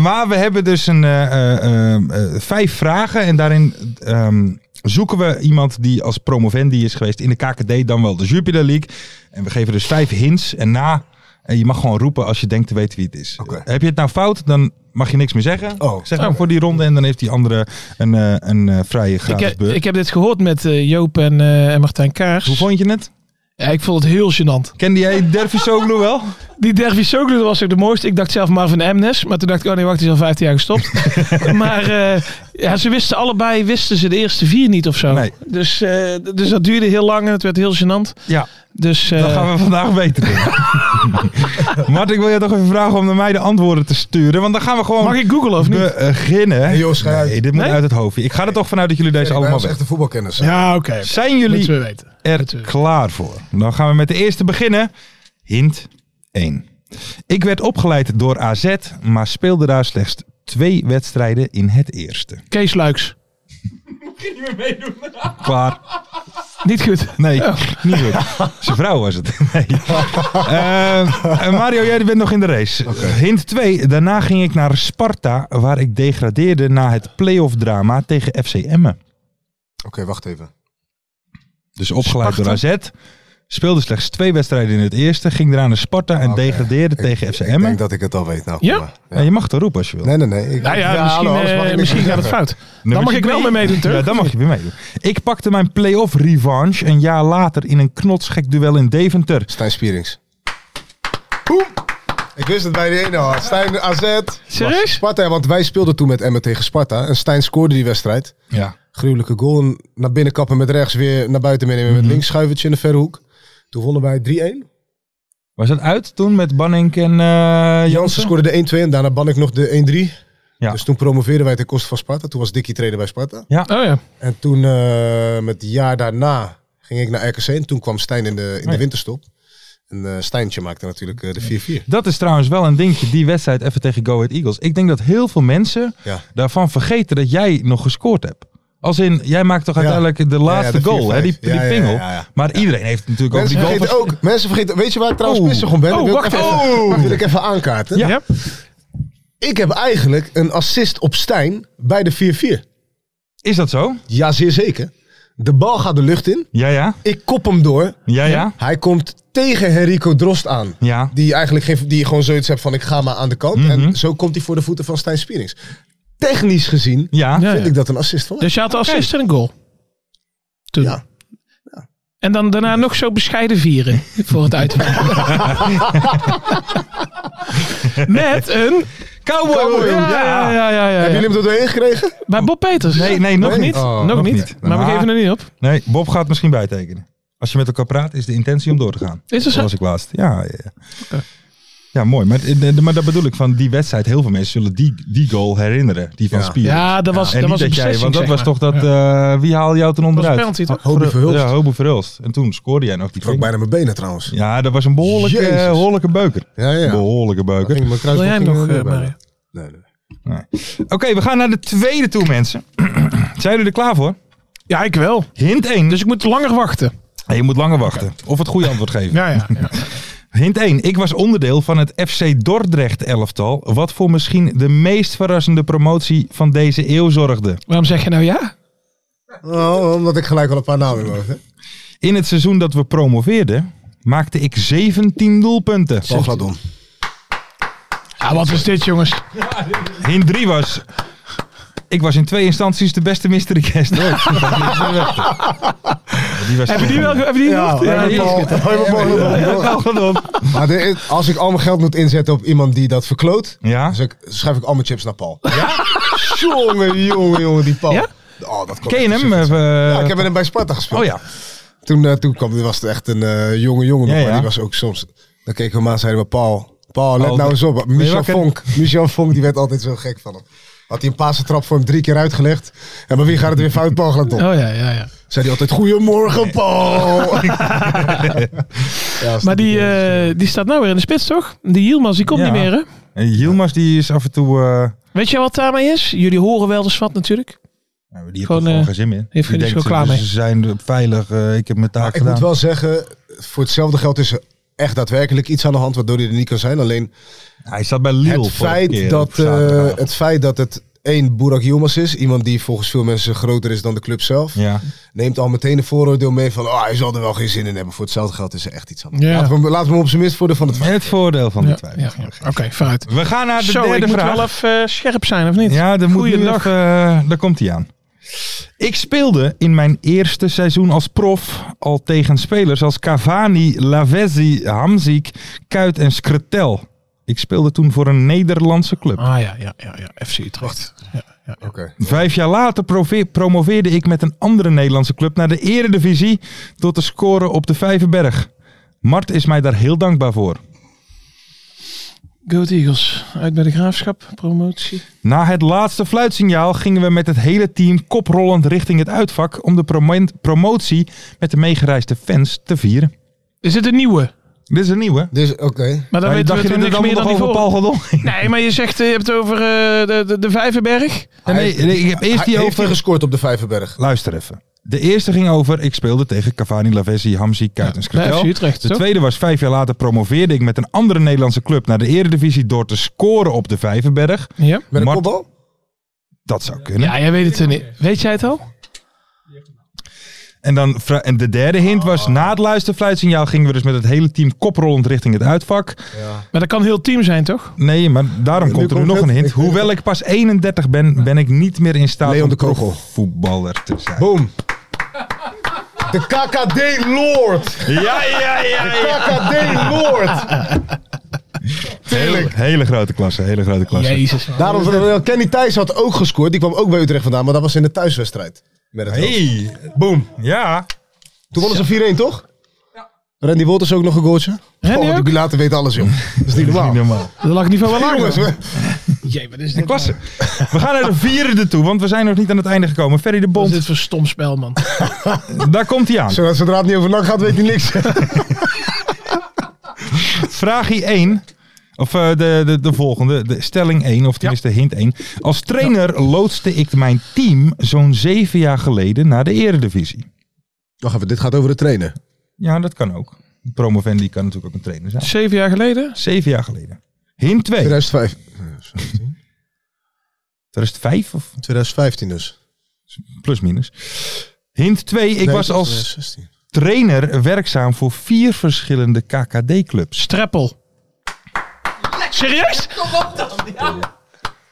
S3: maar we hebben dus een, eh, eh, eh, eh, vijf vragen en daarin ehm, zoeken we iemand die als promovendi is geweest in de KKD, dan wel de Jupiler League. En we geven dus vijf hints en na, en je mag gewoon roepen als je denkt te weten wie het is.
S5: Oké.
S3: Heb je het nou fout, dan mag je niks meer zeggen.
S5: Oh.
S3: Zeg maar voor die ronde en dan heeft die andere een, eh, een eh, vrije
S4: Ik,
S3: gratis
S4: heb-
S3: beurt.
S4: ik heb dit gehoord met eh, Joop en, eh, en Martijn Kaars.
S3: Hoe vond je het?
S4: Ja, ik vond het heel gênant.
S3: Kende jij Dervisoglu wel?
S4: Die Dervis Soglu was ook de mooiste. Ik dacht zelf Marvin Emnes. Maar toen dacht ik, oh nee, wacht, die is al 15 jaar gestopt. *laughs* maar eh, ja, ze wisten allebei, wisten ze de eerste vier niet of zo.
S3: Nee.
S4: Dus, eh, dus dat duurde heel lang en het werd heel gênant.
S3: Ja.
S4: Dus eh,
S3: Dan gaan we vandaag beter doen.
S4: *laughs*
S3: Mart, ik wil je toch even vragen om naar mij de antwoorden te sturen. Want dan gaan we gewoon
S4: mag ik googlen of niet?
S3: beginnen.
S5: Nee, joh, schei uit.
S3: nee, dit moet
S4: Nee?
S3: uit het hoofdje. Ik ga er toch vanuit dat jullie deze allemaal weten.
S5: echte voetbalkennis.
S4: Ja, oké.
S3: Zijn
S4: Moeten
S3: jullie
S4: we weten.
S3: er klaar voor? Dan gaan we met de eerste beginnen. Hint 1. Ik werd opgeleid door AZ, maar speelde daar slechts twee wedstrijden in het eerste.
S4: Kees Luiks.
S3: Klaar.
S4: Niet goed.
S3: Nee,
S5: Oh.
S3: niet goed. Zijn vrouw was het. *laughs* Nee. Eh, Mario, jij bent nog in de race. Hint 2. Daarna ging ik naar Sparta, waar ik degradeerde na het playoff drama tegen FC Emmen.
S5: Oké, wacht even.
S3: Dus opgeleid door AZ. Speelde slechts twee wedstrijden in het eerste. Ging daarna naar Sparta en
S5: Oké.
S3: degradeerde
S5: Ik-
S3: tegen FC
S5: Ik
S3: Emmen.
S5: denk dat ik het al weet. Nou,
S4: Ja?
S5: kom maar.
S3: Ja, je mag het roepen als je wil.
S5: Nee, nee, nee. Ik,
S4: Nou ja,
S5: Ja,
S4: misschien,
S5: hallo, anders
S4: eh,
S5: mag ik niks
S4: misschien gaat
S5: meer
S4: het
S5: zeggen.
S4: fout. Dan
S3: Nummertje
S4: mag ik wel
S3: twee.
S4: mee meedoen, toch?
S3: Ja, dan mag je weer meedoen. Ik pakte mijn playoff revanche een jaar later in een knotsgek duel in Deventer.
S5: Stijn Spierings. Boem. Ik wist het bij de ene al. Stijn AZ.
S4: Serieus?
S5: Sparta, want wij speelden toen met Emmen tegen Sparta. En Stijn scoorde die wedstrijd.
S3: Ja.
S5: gruwelijke goal. En naar binnen kappen met rechts, weer naar buiten meenemen
S3: Mhm.
S5: met links. Schuivertje in de verre hoek. Toen wonnen wij 3-1.
S3: Was dat uit toen met Banning en eh
S5: Jansen
S3: Jansen?
S5: scoorde de 1-2 en daarna ban ik nog de 1-3.
S3: Ja.
S5: Dus toen promoveerden wij ten koste van Sparta. Toen was Dikkie trainer bij Sparta.
S4: Oh ja.
S5: En toen, eh, met het jaar daarna, ging ik naar RKC. En toen kwam Stijn in de, in
S3: Oh ja.
S5: de winterstop. En eh, Stijntje maakte natuurlijk eh, de 4-4.
S3: Dat is trouwens wel een dingetje, die wedstrijd even tegen Go Ahead Eagles. Ik denk dat heel veel mensen
S5: Ja.
S3: daarvan vergeten dat jij nog gescoord hebt. Als in, jij maakt toch
S5: Ja.
S3: uiteindelijk de
S5: ja,
S3: laatste
S5: de
S3: goal, hè? Die,
S5: 4-5.
S3: die
S5: Ja, ja,
S3: pingel.
S5: ja, ja.
S3: Maar iedereen heeft natuurlijk ook
S5: Mensen
S3: die goal.
S5: vergeten ook. Mensen vergeten, weet je waar ik trouwens
S3: Oeh.
S5: pissig om ben?
S3: Oh,
S5: Dat wil ik
S3: wacht Oh.
S5: even- dat *laughs* wil ik even aankaarten.
S3: Ja.
S4: Ja.
S5: Ik heb eigenlijk een assist op Stijn bij de 4-4.
S3: Is dat zo?
S5: Ja, zeer zeker. De bal gaat de lucht in.
S3: Ja, ja.
S5: Ik kop hem door.
S3: Ja, ja.
S5: Hij komt tegen Henrico Drost aan.
S3: Ja.
S5: Die eigenlijk geen, die gewoon zoiets heeft van ik ga maar aan de kant.
S3: Mhm.
S5: En zo komt hij voor de voeten van Stijn Spierings. Technisch gezien
S3: Ja.
S4: Ja.
S5: vind ik dat een assist van hem.
S4: Dus je had de assist en een goal. Toen.
S5: Ja.
S4: En dan daarna nog zo bescheiden vieren voor het uitvallen. Met een
S3: Cowboy!
S5: Cowboy,
S3: Ja, ja, ja, ja, ja.
S4: eh,
S5: Hebben jullie hem er doorheen gekregen?
S4: bij Bob Peters.
S3: Nee, nee, nog
S5: Nee.
S3: niet.
S5: Oh,
S4: nog,
S3: nog
S4: niet.
S3: niet.
S4: Maar we
S3: Maar-
S4: geven er niet op.
S3: Nee, Bob gaat misschien bijtekenen. Als je met elkaar praat, is de intentie om door te gaan.
S4: Is er
S3: Dat
S4: zo?
S3: was ik laatst. Ja, ja. ja.
S4: Oké.
S3: Ja, mooi. Maar, eh, eh, maar dat bedoel ik van die wedstrijd. Heel veel mensen zullen die, die goal herinneren. Die van
S5: Ja.
S3: Spier.
S4: Ja, dat was,
S3: en
S4: dat
S3: niet
S4: was een
S3: dat jij,
S4: beslissing.
S3: want dat
S4: zeg
S3: was
S4: maar.
S3: toch dat.
S4: Ja.
S3: eh, wie haal jou toen
S4: Dat was een
S3: onderuit?
S4: penalty, toch?
S5: Hobie Verhulst.
S3: Ja, Hobo Verhulst. En toen scoorde jij nog die
S5: Ik trok
S3: ping.
S5: bijna mijn benen trouwens.
S3: Ja, dat was een behoorlijke,
S5: Jezus.
S3: eh, behoorlijke beuker.
S5: Ja, ja.
S3: Behoorlijke
S5: Dat
S3: beuker.
S5: ging mijn
S4: Wil
S5: kruisband
S4: jij hem
S5: ging
S4: nog,
S5: er
S4: eh,
S5: weer bij.
S4: Mario?
S5: Nee, nee.
S3: Oké, we gaan naar de tweede toe, mensen. *clears throat* Zijn jullie er klaar voor?
S4: Ja, ik wel.
S3: Hint 1.
S4: Dus ik moet langer wachten.
S3: je moet langer wachten. Of het goede antwoord geven.
S4: Ja, ja. ja.
S3: Hint 1. Ik was onderdeel van het FC Dordrecht elftal, wat voor misschien de meest verrassende promotie van deze eeuw zorgde.
S4: Waarom zeg je nou ja?
S5: Oh, omdat ik gelijk al een paar namen in mijn hoofd heb.
S3: In het seizoen dat we promoveerden, maakte ik 17 doelpunten.
S5: Paul Gladon.
S4: Ah, wat is dit, jongens?
S3: Hint 3 was... Ik was in twee instanties de beste mystery guest ooit. die was
S4: Hebben die wel hebben die
S5: Ja,
S4: nog?
S5: we hebben Paul- we *laughs* hebben Paul Gladon.
S4: *laughs*
S5: Maar dit- als ik al mijn geld moet inzetten op iemand die dat verkloot,
S3: Ja?
S5: Dus ik, schrijf ik al mijn chips naar Paul. Ja? jongen, jongen, jongen, die Paul.
S4: Ja?
S5: Oh, dat kon
S3: Ken je
S5: echt
S3: hem?
S5: zo goed.
S3: Of, eh,
S5: Ja, ik heb met hem bij Sparta gespeeld.
S3: Oh ja.
S5: Toen, eh, toen kwam, was het echt een eh, jonge jongen. nog,
S3: Ja,
S5: maar
S3: ja.
S5: Die was ook soms... Dan keken we hem aan en zeiden we, Paul, Paul, let
S3: Paul,
S5: nou eens op.
S3: ben je
S5: Michel
S3: wakker?
S5: Vonk, *laughs* Michel Vonk, die werd altijd zo gek van hem. Had hij een paarse trap voor hem drie keer uitgelegd. En bij wie gaat het weer fout, Paul gaat op.
S4: Oh ja, ja, ja.
S5: Zei hij altijd,
S3: *laughs*
S5: goedemorgen, Paul. Ja, als
S4: Maar die,
S5: eh,
S4: eh, die staat nou weer in de spits, toch? Die Hielmans, die komt
S3: Ja.
S4: niet meer, hè?
S3: En Yilmaz die is af en toe... eh,
S4: Weet je wat daarmee is? Jullie horen wel eens wat natuurlijk.
S3: Nou, die heeft
S4: Gewoon,
S3: er gewoon
S4: eh,
S3: geen zin meer.
S4: heeft geen
S3: Die denkt,
S4: disco klaar
S3: ze-
S4: mee.
S3: Ze zijn veilig, eh, ik heb mijn taak
S5: Maar ik
S3: gedaan.
S5: moet wel zeggen, voor hetzelfde geld is er echt daadwerkelijk iets aan de hand waardoor hij er niet kan zijn. Alleen
S3: Hij zat bij Lille
S5: het
S3: vorige
S5: feit,
S3: keer op
S5: dat, eh,
S3: zaterdag.
S5: het feit dat het één Burak Yilmaz is, iemand die volgens veel mensen groter is dan de club zelf,
S3: Ja.
S5: neemt al meteen een vooroordeel mee van oh, hij zal er wel geen zin in hebben. Voor hetzelfde geld is er echt iets aan de hand.
S4: Ja.
S5: Laten, we, hem- laten we hem op zijn minst voor de van het
S3: En het voordeel van die
S4: Ja,
S3: twijfel.
S4: ja, ja. Oké, vooruit.
S3: We gaan naar de
S4: Zo, ik
S3: derde
S4: moet
S3: vraag.
S4: wel even eh, scherp zijn, of niet?
S3: Ja, dan moet nu
S4: Goeiedag.
S3: even, eh, daar komt hij aan. Ik speelde in mijn eerste seizoen als prof al tegen spelers als Cavani, Lavezzi, Hamzik, Kuit en Skretel. Ik speelde toen voor een Nederlandse club.
S4: Ah ja, ja, ja, ja. FC Utrecht. Ja, ja.
S5: Oké.
S3: Vijf jaar later prove- promoveerde ik met een andere Nederlandse club naar de Eredivisie tot te scoren op de Vijverberg. Mart is mij daar heel dankbaar voor.
S4: Go Ahead Eagles, uit bij de graafschap, promotie.
S3: Na het laatste fluitsignaal gingen we met het hele team koprollend richting het uitvak om de promo- promotie met de meegereisde fans te vieren.
S4: Is het een nieuwe?
S3: Dit is een nieuwe.
S5: Dus oké.
S4: Maar
S3: Maar
S4: dan weten
S3: dacht je
S4: we toch
S3: dat het
S4: niks
S3: allemaal
S4: meer dan
S3: nog
S4: die
S3: over Paul
S4: voor.
S3: Gadon ging?
S4: Nee, maar je zegt, eh, je hebt het over eh, de, de, de Vijverberg.
S3: Nee, nee, ik heb eerst die
S5: Heeft hij
S3: over...
S5: gescoord op de Vijverberg?
S3: Luister even. De eerste ging over, ik speelde tegen Cavani, Lavezzi, Hamzi, Kuit en
S4: bij
S3: Skritel.
S4: FC Utrecht,
S3: de
S4: toch?
S3: tweede was vijf jaar later promoveerde ik met een andere Nederlandse club naar de eredivisie door te scoren op de Vijverberg.
S4: Ja.
S5: Met een
S3: Mart-
S5: kopbal?
S3: Dat zou kunnen.
S4: ja, jij weet het er niet. Weet jij het al?
S3: En, dan, fra- en de derde hint was, na het luisterfluitsignaal gingen we dus met het hele team koprollend richting het uitvak.
S4: Maar dat kan heel team zijn, toch?
S3: Nee, maar daarom komt er nu
S5: komt
S3: nog
S5: het.
S3: een hint.
S5: Ik weet
S3: Hoewel ik pas 31 ben, ben ik niet meer in staat
S5: Leon
S3: om
S5: de Kogel.
S3: voetballer te zijn.
S5: Boom. De KKD Lord.
S3: Ja, ja, ja.
S5: KKD *laughs* Lord.
S3: Hele, hele grote klasse, hele grote klasse.
S4: Jezus. man.
S5: Daarom, Kenny Thijs had ook gescoord. Die kwam ook bij Utrecht vandaan, maar dat was in de thuiswedstrijd. Met het hoofd.
S3: Hey, boom. Ja.
S5: Toen wonnen ze 4-1, toch? Randy Wolters ook nog een goaltje.
S4: Randy
S5: oh, de
S4: ook?
S5: Bilater weet alles, joh. *laughs* Dat is niet normaal.
S3: Niet normaal.
S4: Dat lag niveau wel lager.
S5: Jongens,
S4: dan.
S5: we-
S4: Jee, maar dit is dit
S3: Klasse. We gaan naar de vierde toe, want we zijn nog niet aan het einde gekomen. Ferry de
S4: Wat is
S3: Bond,
S4: dit voor stom spel, man?
S3: daar komt hij aan.
S5: zodra zodra het niet over NAC gaat, weet hij niks. *laughs* Vraag
S3: Vraagje 1. Of eh, de, de, de volgende, de stelling 1, of tenminste hint 1. Als trainer loodste ik mijn team zo'n zeven jaar geleden naar de eredivisie.
S5: Wacht even, dit gaat over de trainer.
S3: Ja, dat kan ook. Promovendi kan natuurlijk ook een trainer zijn.
S4: Zeven jaar geleden?
S3: Zeven jaar geleden. Hint 2.
S5: 2005.
S3: 2005 of
S5: 2015 dus.
S3: plus minus. Hint 2. Ik
S5: Nee,
S3: was als
S5: 2016.
S3: trainer werkzaam voor vier verschillende KKD-clubs.
S4: Streppel. Serieus?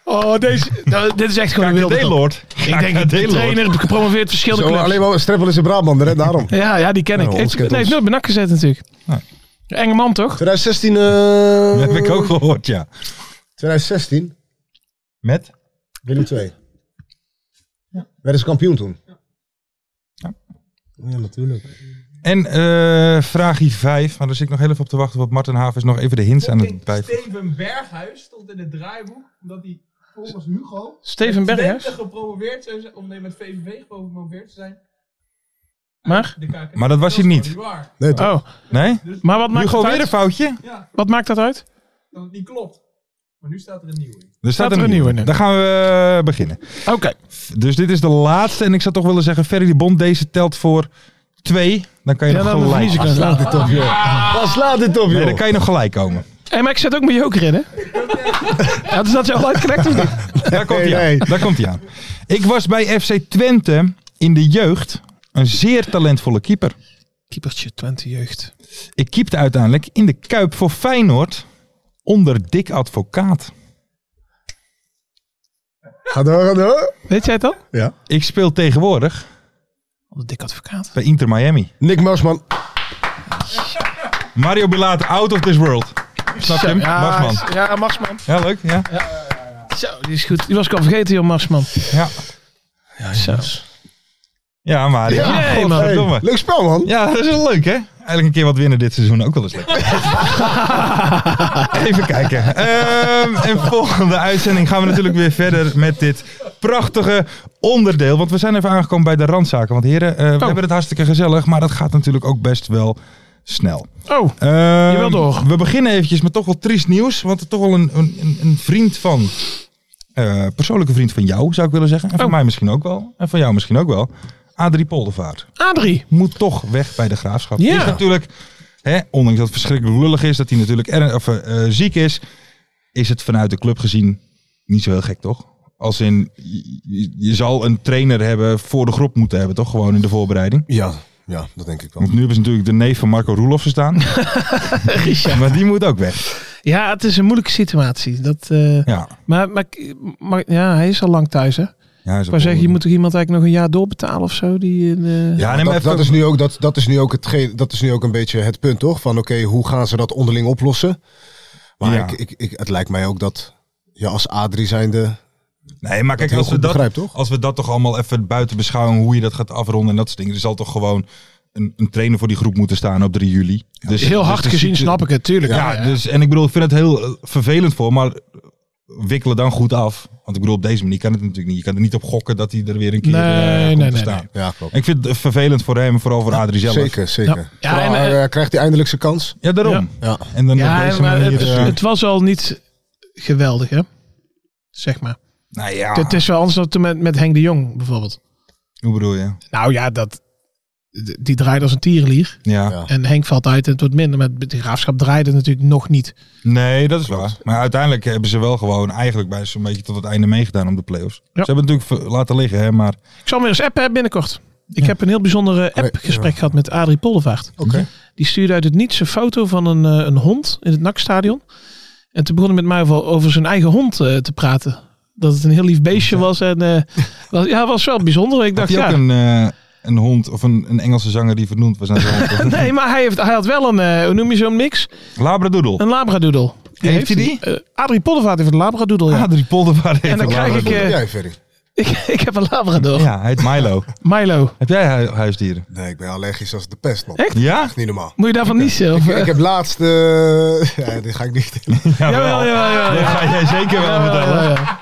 S4: Oh, deze, nou, dit is echt gewoon een wilde top.
S3: KKD-lord.
S4: Ik denk dat de trainer gepromoveerd verschillende
S5: Zo,
S4: clubs.
S5: alleen maar Streppel is een Brabander, hè, *laughs* daarom.
S4: Ja, ja, die ken ik.
S5: Ja,
S4: Heeft-
S5: ons
S4: nee,
S5: kent
S4: heeft
S5: ons.
S4: nooit benak gezet natuurlijk.
S3: Nee.
S4: Enge man toch?
S5: 2016...
S3: Dat heb ik
S5: eh
S3: ook gehoord, ja.
S5: 2016,
S3: Met?
S5: Willem II. Werden ze kampioen toen? Ja, natuurlijk.
S3: En eh vraagje 5. Maar daar zit ik nog heel even op te wachten. Want Martin Havens nog even de hints aan het bijvoegen.
S7: Steven Berghuis stond in het draaiboek omdat hij volgens Hugo
S4: Steven
S7: Twente
S4: Berghuis.
S7: gepromoveerd zou zijn, om nee, met VVV gepromoveerd te zijn.
S4: Maar?
S7: De KKD.
S3: Maar dat was hij
S7: is
S3: niet.
S7: gewoon waar.
S5: Nee, toch?
S4: Oh,
S3: Nee?
S4: maar wat maakt,
S3: Hugo
S4: dat
S3: weer een
S4: uit?
S3: foutje.
S7: Ja,
S4: wat maakt dat uit?
S7: dat het niet klopt. Maar nu staat er een nieuwe in.
S3: Er staat er een
S4: nieuwe
S3: nieuwe.
S4: in.
S3: Dan gaan we eh, beginnen.
S4: Oké.
S3: Dus dit is de laatste. En ik zou toch willen zeggen, Ferry de Bond, deze telt voor 2. Dan kan je
S4: Ja,
S3: nog
S4: dan
S3: gelijk
S4: verlies ik
S3: komen.
S4: dan.
S5: Slaat dit op, joh. Wat slaat dit op,
S3: Nee, dan
S5: joh?
S3: kan je nog gelijk komen.
S4: Hey, maar ik zet ook mijn joker in, hè? ja, dus dat je al uitgelegd of niet?
S3: Daar komt hij
S5: *laughs* Nee,
S3: aan.
S5: nee.
S3: Daar komt hij aan. Ik was bij FC Twente in de jeugd een zeer talentvolle keeper.
S4: Keepertje Twente jeugd.
S3: Ik keepte uiteindelijk in de Kuip voor Feyenoord onder Dick Advocaat.
S5: Ga door, ga door.
S4: Weet jij het al?
S3: Ik speel tegenwoordig
S4: Wat een dik advocaat.
S3: bij Inter Miami.
S5: Nick Marsman.
S3: Mario Bilater, out of this world. Snap je hem? Marsman.
S4: Ja, Marsman.
S3: Ja, leuk. Ja.
S4: Zo, die is goed. Die was ik al vergeten, joh, Marsman.
S3: Ja.
S4: Zo.
S3: ja, Mario.
S4: Ja,
S3: Ja,
S4: man.
S3: Godverdomme.
S5: Leuk spel, man.
S3: Ja, dat is wel leuk, hè? Eigenlijk een keer wat winnen dit seizoen ook wel eens
S4: *laughs*
S3: leuk. Even kijken. Ehm, en volgende uitzending gaan we natuurlijk weer verder met dit prachtige onderdeel. Want we zijn even aangekomen bij de randzaken. Want heren,
S4: Oh.
S3: eh, we hebben het hartstikke gezellig, maar dat gaat natuurlijk ook best wel snel.
S4: Oh,
S3: Ehm,
S4: Je wil door.
S3: We beginnen eventjes met toch wel triest nieuws. Want er toch wel een, een, een- een vriend van... eh, persoonlijke vriend van jou, zou ik willen zeggen. En van
S4: Oh.
S3: mij misschien ook wel. En van jou misschien ook wel. Adrie Poldervaart
S4: Adrie.
S3: moet toch weg bij de graafschap.
S4: Ja.
S3: Is natuurlijk, hè, ondanks dat het verschrikkelijk lullig is, dat hij natuurlijk er, of, eh, eh, ziek is, is het vanuit de club gezien niet zo heel gek, toch? Als in, je- je, je zal een trainer hebben voor de groep moeten hebben, toch? Gewoon in de voorbereiding.
S5: Ja, ja, dat denk ik wel.
S3: Want nu hebben ze natuurlijk de neef van Marco Roelofsen
S4: *laughs*
S3: staan. Maar die moet ook weg.
S4: Ja, het is een moeilijke situatie. Dat, eh,
S3: Ja.
S4: maar, maar, maar ja, hij is al lang thuis, hè?
S3: ja
S4: Ik wou zeggen, je moet toch iemand eigenlijk nog een jaar doorbetalen of zo? Die, eh,
S3: Ja, neem
S5: dat,
S3: even...
S5: dat, is nu ook, dat, dat, is nu ook hetgeen, dat is nu ook een beetje het punt, toch? Van oké, hoe gaan ze dat onderling oplossen? Maar
S3: Ja.
S5: ik, ik, ik, het lijkt mij ook dat je als A3 zijnde...
S3: Nee, maar kijk,
S5: heel
S3: als we,
S5: goed
S3: dat,
S5: begrijpt, toch?
S3: als we dat toch allemaal even buiten beschouwen, hoe je dat gaat afronden en dat soort dingen. Er zal toch gewoon een, een trainer voor die groep moeten staan op 3 juli. Dus,
S4: Heel hard
S3: dus de
S4: gezien
S3: ziekte-
S4: snap ik het, tuurlijk.
S3: Ja, Dus, en ik bedoel, ik vind het heel eh, vervelend voor, maar wikkelen dan goed af. Want ik bedoel, op deze manier kan het natuurlijk niet. Je kan er niet op gokken dat hij er weer een keer eh
S4: Nee,
S3: komt
S4: nee,
S3: te
S4: nee,
S3: staan.
S4: nee.
S5: Ja, klopt.
S3: En Ik vind het vervelend voor hem, vooral voor Adrie zelf.
S5: Zeker, zeker.
S4: Ja. Ja,
S5: Vooral,
S4: en, eh,
S5: eh, krijgt hij eindelijk zijn kans?
S3: Ja, daarom.
S5: Ja.
S3: En dan op
S4: Ja,
S3: deze
S4: maar
S3: manier...
S4: het,
S3: eh,
S4: het was al niet geweldig, hè? Zeg maar.
S3: nou ja,
S4: Het is wel anders dan toen met, met Henk de Jong bijvoorbeeld.
S3: hoe bedoel je?
S4: Nou ja, dat, d- die draait als een tierenlier.
S3: Ja.
S5: Ja.
S4: En Henk valt uit en het wordt minder. Maar de graafschap draaide natuurlijk nog niet.
S3: Nee, dat is waar. Maar uiteindelijk hebben ze wel gewoon eigenlijk bij zo'n beetje tot het einde meegedaan om de play-offs. Ze hebben het natuurlijk ver- laten liggen, hè, maar...
S4: Ik zal hem weer eens appen hè, binnenkort. Ik heb een heel bijzonder eh, app-gesprek gehad met Adrie Pollevaart.
S5: Oké.
S4: Die stuurde uit het niets een foto van een, eh, een hond in het NAC-stadion. En toen begon hij met mij over, over zijn eigen hond eh, te praten. Dat het een heel lief beestje was. En, eh, was, ja, was wel bijzonder. Ik
S3: Had
S4: dacht,
S3: je
S4: ja.
S3: ook een, eh, een hond of een, een Engelse zanger die vernoemd was naar zijn
S4: *laughs*
S3: hond?
S4: Nee, maar hij, heeft, hij had wel een, eh, hoe noem je zo'n mix?
S3: Labradoodle.
S4: Een labradoodle.
S3: Heeft hij die? Ah,
S4: eh, Adrie Poldervaart heeft een labradoodle, ja.
S3: Adrie Poldervaart heeft
S4: En dan
S3: een
S4: krijg ik,
S3: labradoodle.
S4: eh,
S5: Jij, Ferry?
S4: *laughs* ik, ik heb een labrador.
S3: Ja, hij heet
S4: *laughs*
S3: Milo.
S4: Milo.
S3: Heb jij hu- huisdieren?
S5: Nee, ik ben allergisch als de pest, man.
S4: Echt?
S3: Ja?
S5: Niet normaal.
S4: Moet je daarvan niet zo?
S5: Ik, ik heb laatst... eh, *laughs* ja, dit ga ik niet
S4: Jawel, jawel, jawel.
S3: Dat ga jij zeker wel vertellen.
S4: Ja, ja.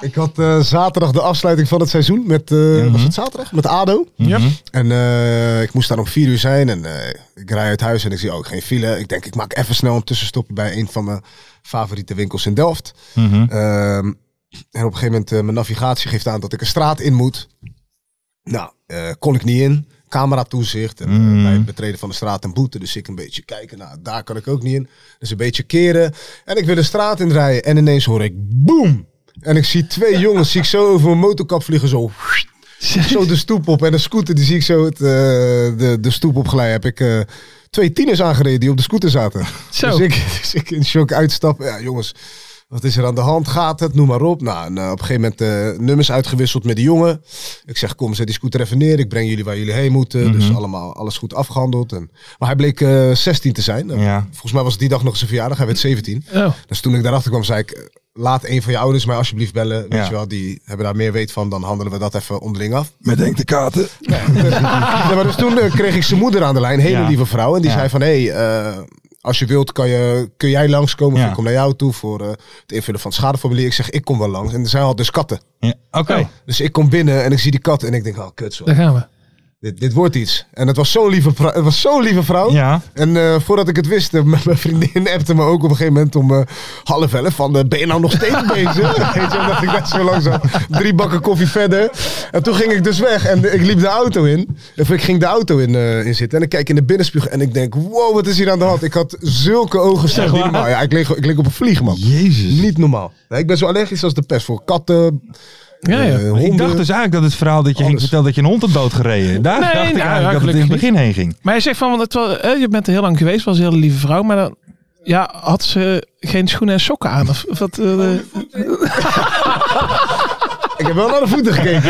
S5: Ik had eh, zaterdag de afsluiting van het seizoen met, eh, was het zaterdag? Met ADO.
S3: Mhm.
S4: Ja.
S5: En eh, ik moest daar om vier uur zijn en eh, ik rij uit huis en ik zie ook geen file. Ik denk, ik maak even snel een tussenstopje bij een van mijn favoriete winkels in Delft.
S3: Mhm.
S5: Ehm, en op een gegeven moment, eh, mijn navigatie geeft aan dat ik een straat in moet. Nou, eh, kon ik niet in. Cameratoezicht en eh, bij het betreden van de straat een boete. Dus ik een beetje kijken, nou, daar kan ik ook niet in. Dus een beetje keren. En ik wil de straat inrijden en ineens hoor ik boem. En ik zie twee jongens, zie ik zo over mijn motorkap vliegen, zo zo de stoep op. En een scooter, die zie ik zo het, eh, de, de stoep op glijden. Heb ik eh, twee tieners aangereden die op de scooter zaten.
S4: Zo.
S5: Dus, ik, *laughs* dus ik in shock uitstap. Ja, jongens, wat is er aan de hand? Gaat het? Noem maar op. Nou, en, eh, op een gegeven moment eh, nummers uitgewisseld met de jongen. Ik zeg, kom, zet die scooter even neer. Ik breng jullie waar jullie heen moeten.
S3: Mhm.
S5: Dus allemaal, alles goed afgehandeld. En, maar hij bleek eh, 16 te zijn. Eh,
S3: Ja.
S5: Volgens mij was die dag nog zijn verjaardag. Hij werd 17.
S4: Oh,
S5: Dus toen ik daarachter kwam, zei ik... eh, Laat een van je ouders mij alsjeblieft bellen. Weet
S3: Ja.
S5: je wel, die hebben daar meer weet van. Dan handelen we dat even onderling af.
S3: Met Henk de Katen.
S5: Ja, maar dus toen eh, kreeg ik zijn moeder aan de lijn, hele
S3: Ja.
S5: lieve vrouw. En die
S3: Ja.
S5: zei van, hé, hey, eh, als je wilt kan je, kun jij langskomen.
S3: Ja.
S5: Of ik kom naar jou toe voor eh, het invullen van het schadeformulier. Ik zeg, ik kom wel langs. En zij had dus katten.
S3: Ja, Oké.
S5: Dus ik kom binnen en ik zie die kat en ik denk, oh kut zo.
S4: daar gaan we.
S5: Dit, dit wordt iets. En het was zo'n lieve, vrou- het was zo'n lieve
S4: Oh.
S5: vrouw.
S3: Ja.
S5: En eh, voordat ik het wist, eh, *laughs* m- mijn vriendin appte me ook op een gegeven moment om eh, half elf van, eh, ben je nou nog
S3: *laughs*
S5: steeds bezig? Weet je, wel, dat ik dat zo langzaam drie bakken koffie verder. En toen ging ik dus weg en ik liep de auto in. Of ik ging de auto in, eh, in zitten en ik kijk in de binnenspiegel en ik denk, wow, wat is hier aan de hand? Ik had zulke ogen slecht. Niet normaal. Ja, ik leek, ik leek op een vlieg,
S3: Oh.
S5: man.
S3: Jezus.
S5: Niet normaal. Nee, ik ben zo allergisch als de pest voor katten,
S4: Ja, ja.
S5: eh, honden.
S3: Ik dacht dus eigenlijk dat het verhaal dat je Henk
S5: Alles.
S3: vertelde dat je een hond had doodgereden. Daar
S4: Nee,
S3: dacht ik
S4: nou,
S3: eigenlijk dat het in het
S4: gelukkig
S3: begin heen ging.
S4: Maar hij zegt van, want het wel, eh, je bent er heel lang geweest, was een hele lieve vrouw. Maar dan, ja, had ze geen schoenen en sokken aan? Of, of wat, eh,
S5: Ik heb wel naar de voeten gekeken.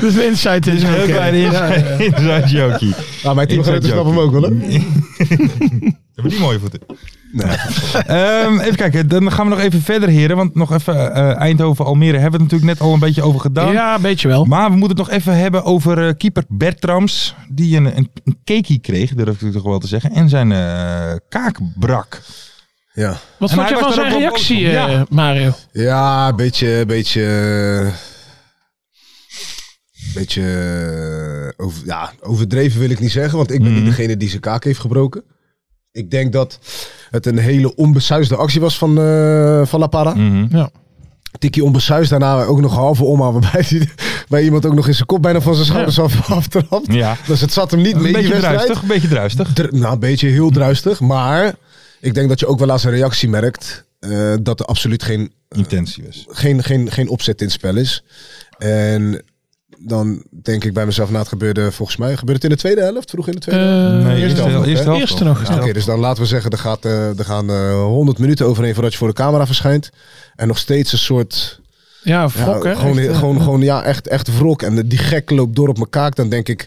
S4: dus de insight is eh,
S3: Heel *laughs*
S4: oké.
S3: klein inside- inside jokie.
S5: Nou, mijn teamgenoten
S3: Inside
S5: snappen hem ook wel, hè?
S3: *laughs* Hebben die mooie voeten? Ehm, even kijken, dan gaan we nog even verder, heren. Want nog even eh, Eindhoven, Almere hebben we het natuurlijk net al een beetje over gedaan.
S4: Ja, een beetje wel.
S3: Maar we moeten het nog even hebben over eh, keeper Bertrams. Die een, een, een cakeie kreeg, durf ik toch wel te zeggen. En zijn eh, kaak brak.
S5: Ja.
S4: Wat
S3: En hij
S4: vond je van
S3: was daar
S4: zijn
S3: ook wel
S4: reactie,
S3: boos om.
S4: eh,
S3: Ja.
S4: Mario?
S5: Ja, een beetje, een beetje, een beetje eh, over, ja, overdreven wil ik niet zeggen, want ik ben
S3: Mhm.
S5: niet degene die zijn kaak heeft gebroken. Ik denk dat het een hele onbesuisde actie was van, eh van La Parra.
S3: Mhm.
S4: Ja.
S5: Tikkie onbesuisd, daarna ook nog halve omhaal, waarbij die, bij iemand ook nog in zijn kop bijna van zijn schouders af, aftrapt.
S3: Ja.
S5: Dus het zat hem niet mee,
S3: Een
S5: die
S3: beetje
S5: wedstrijd.
S3: druistig, Mhm. een beetje druistig.
S5: Dr- nou, een beetje heel druistig. Maar ik denk dat je ook wel aan zijn reactie merkt eh, dat er absoluut geen
S3: Intentie dus. was.
S5: geen, geen, geen opzet in het spel is. En dan denk ik bij mezelf, na het gebeurde volgens mij, gebeurde het in de tweede helft, vroeg in de tweede helft.
S4: Eh,
S3: Nee,
S5: eerste
S3: eerste,
S5: helft nog,
S3: eerste
S5: hè?
S3: helft
S4: Eerste
S3: nog.
S4: nog.
S5: Oké, dus dan laten we zeggen, er, gaat, eh, er gaan eh 100 minuten overheen voordat je voor de camera verschijnt. En nog steeds een soort...
S4: Ja,
S5: Ja,
S4: frok, hè?
S5: gewoon,
S4: Echt, eh,
S5: gewoon, gewoon, ja, echt, echt wrok. En die gek loopt door op mijn kaak. Dan denk ik,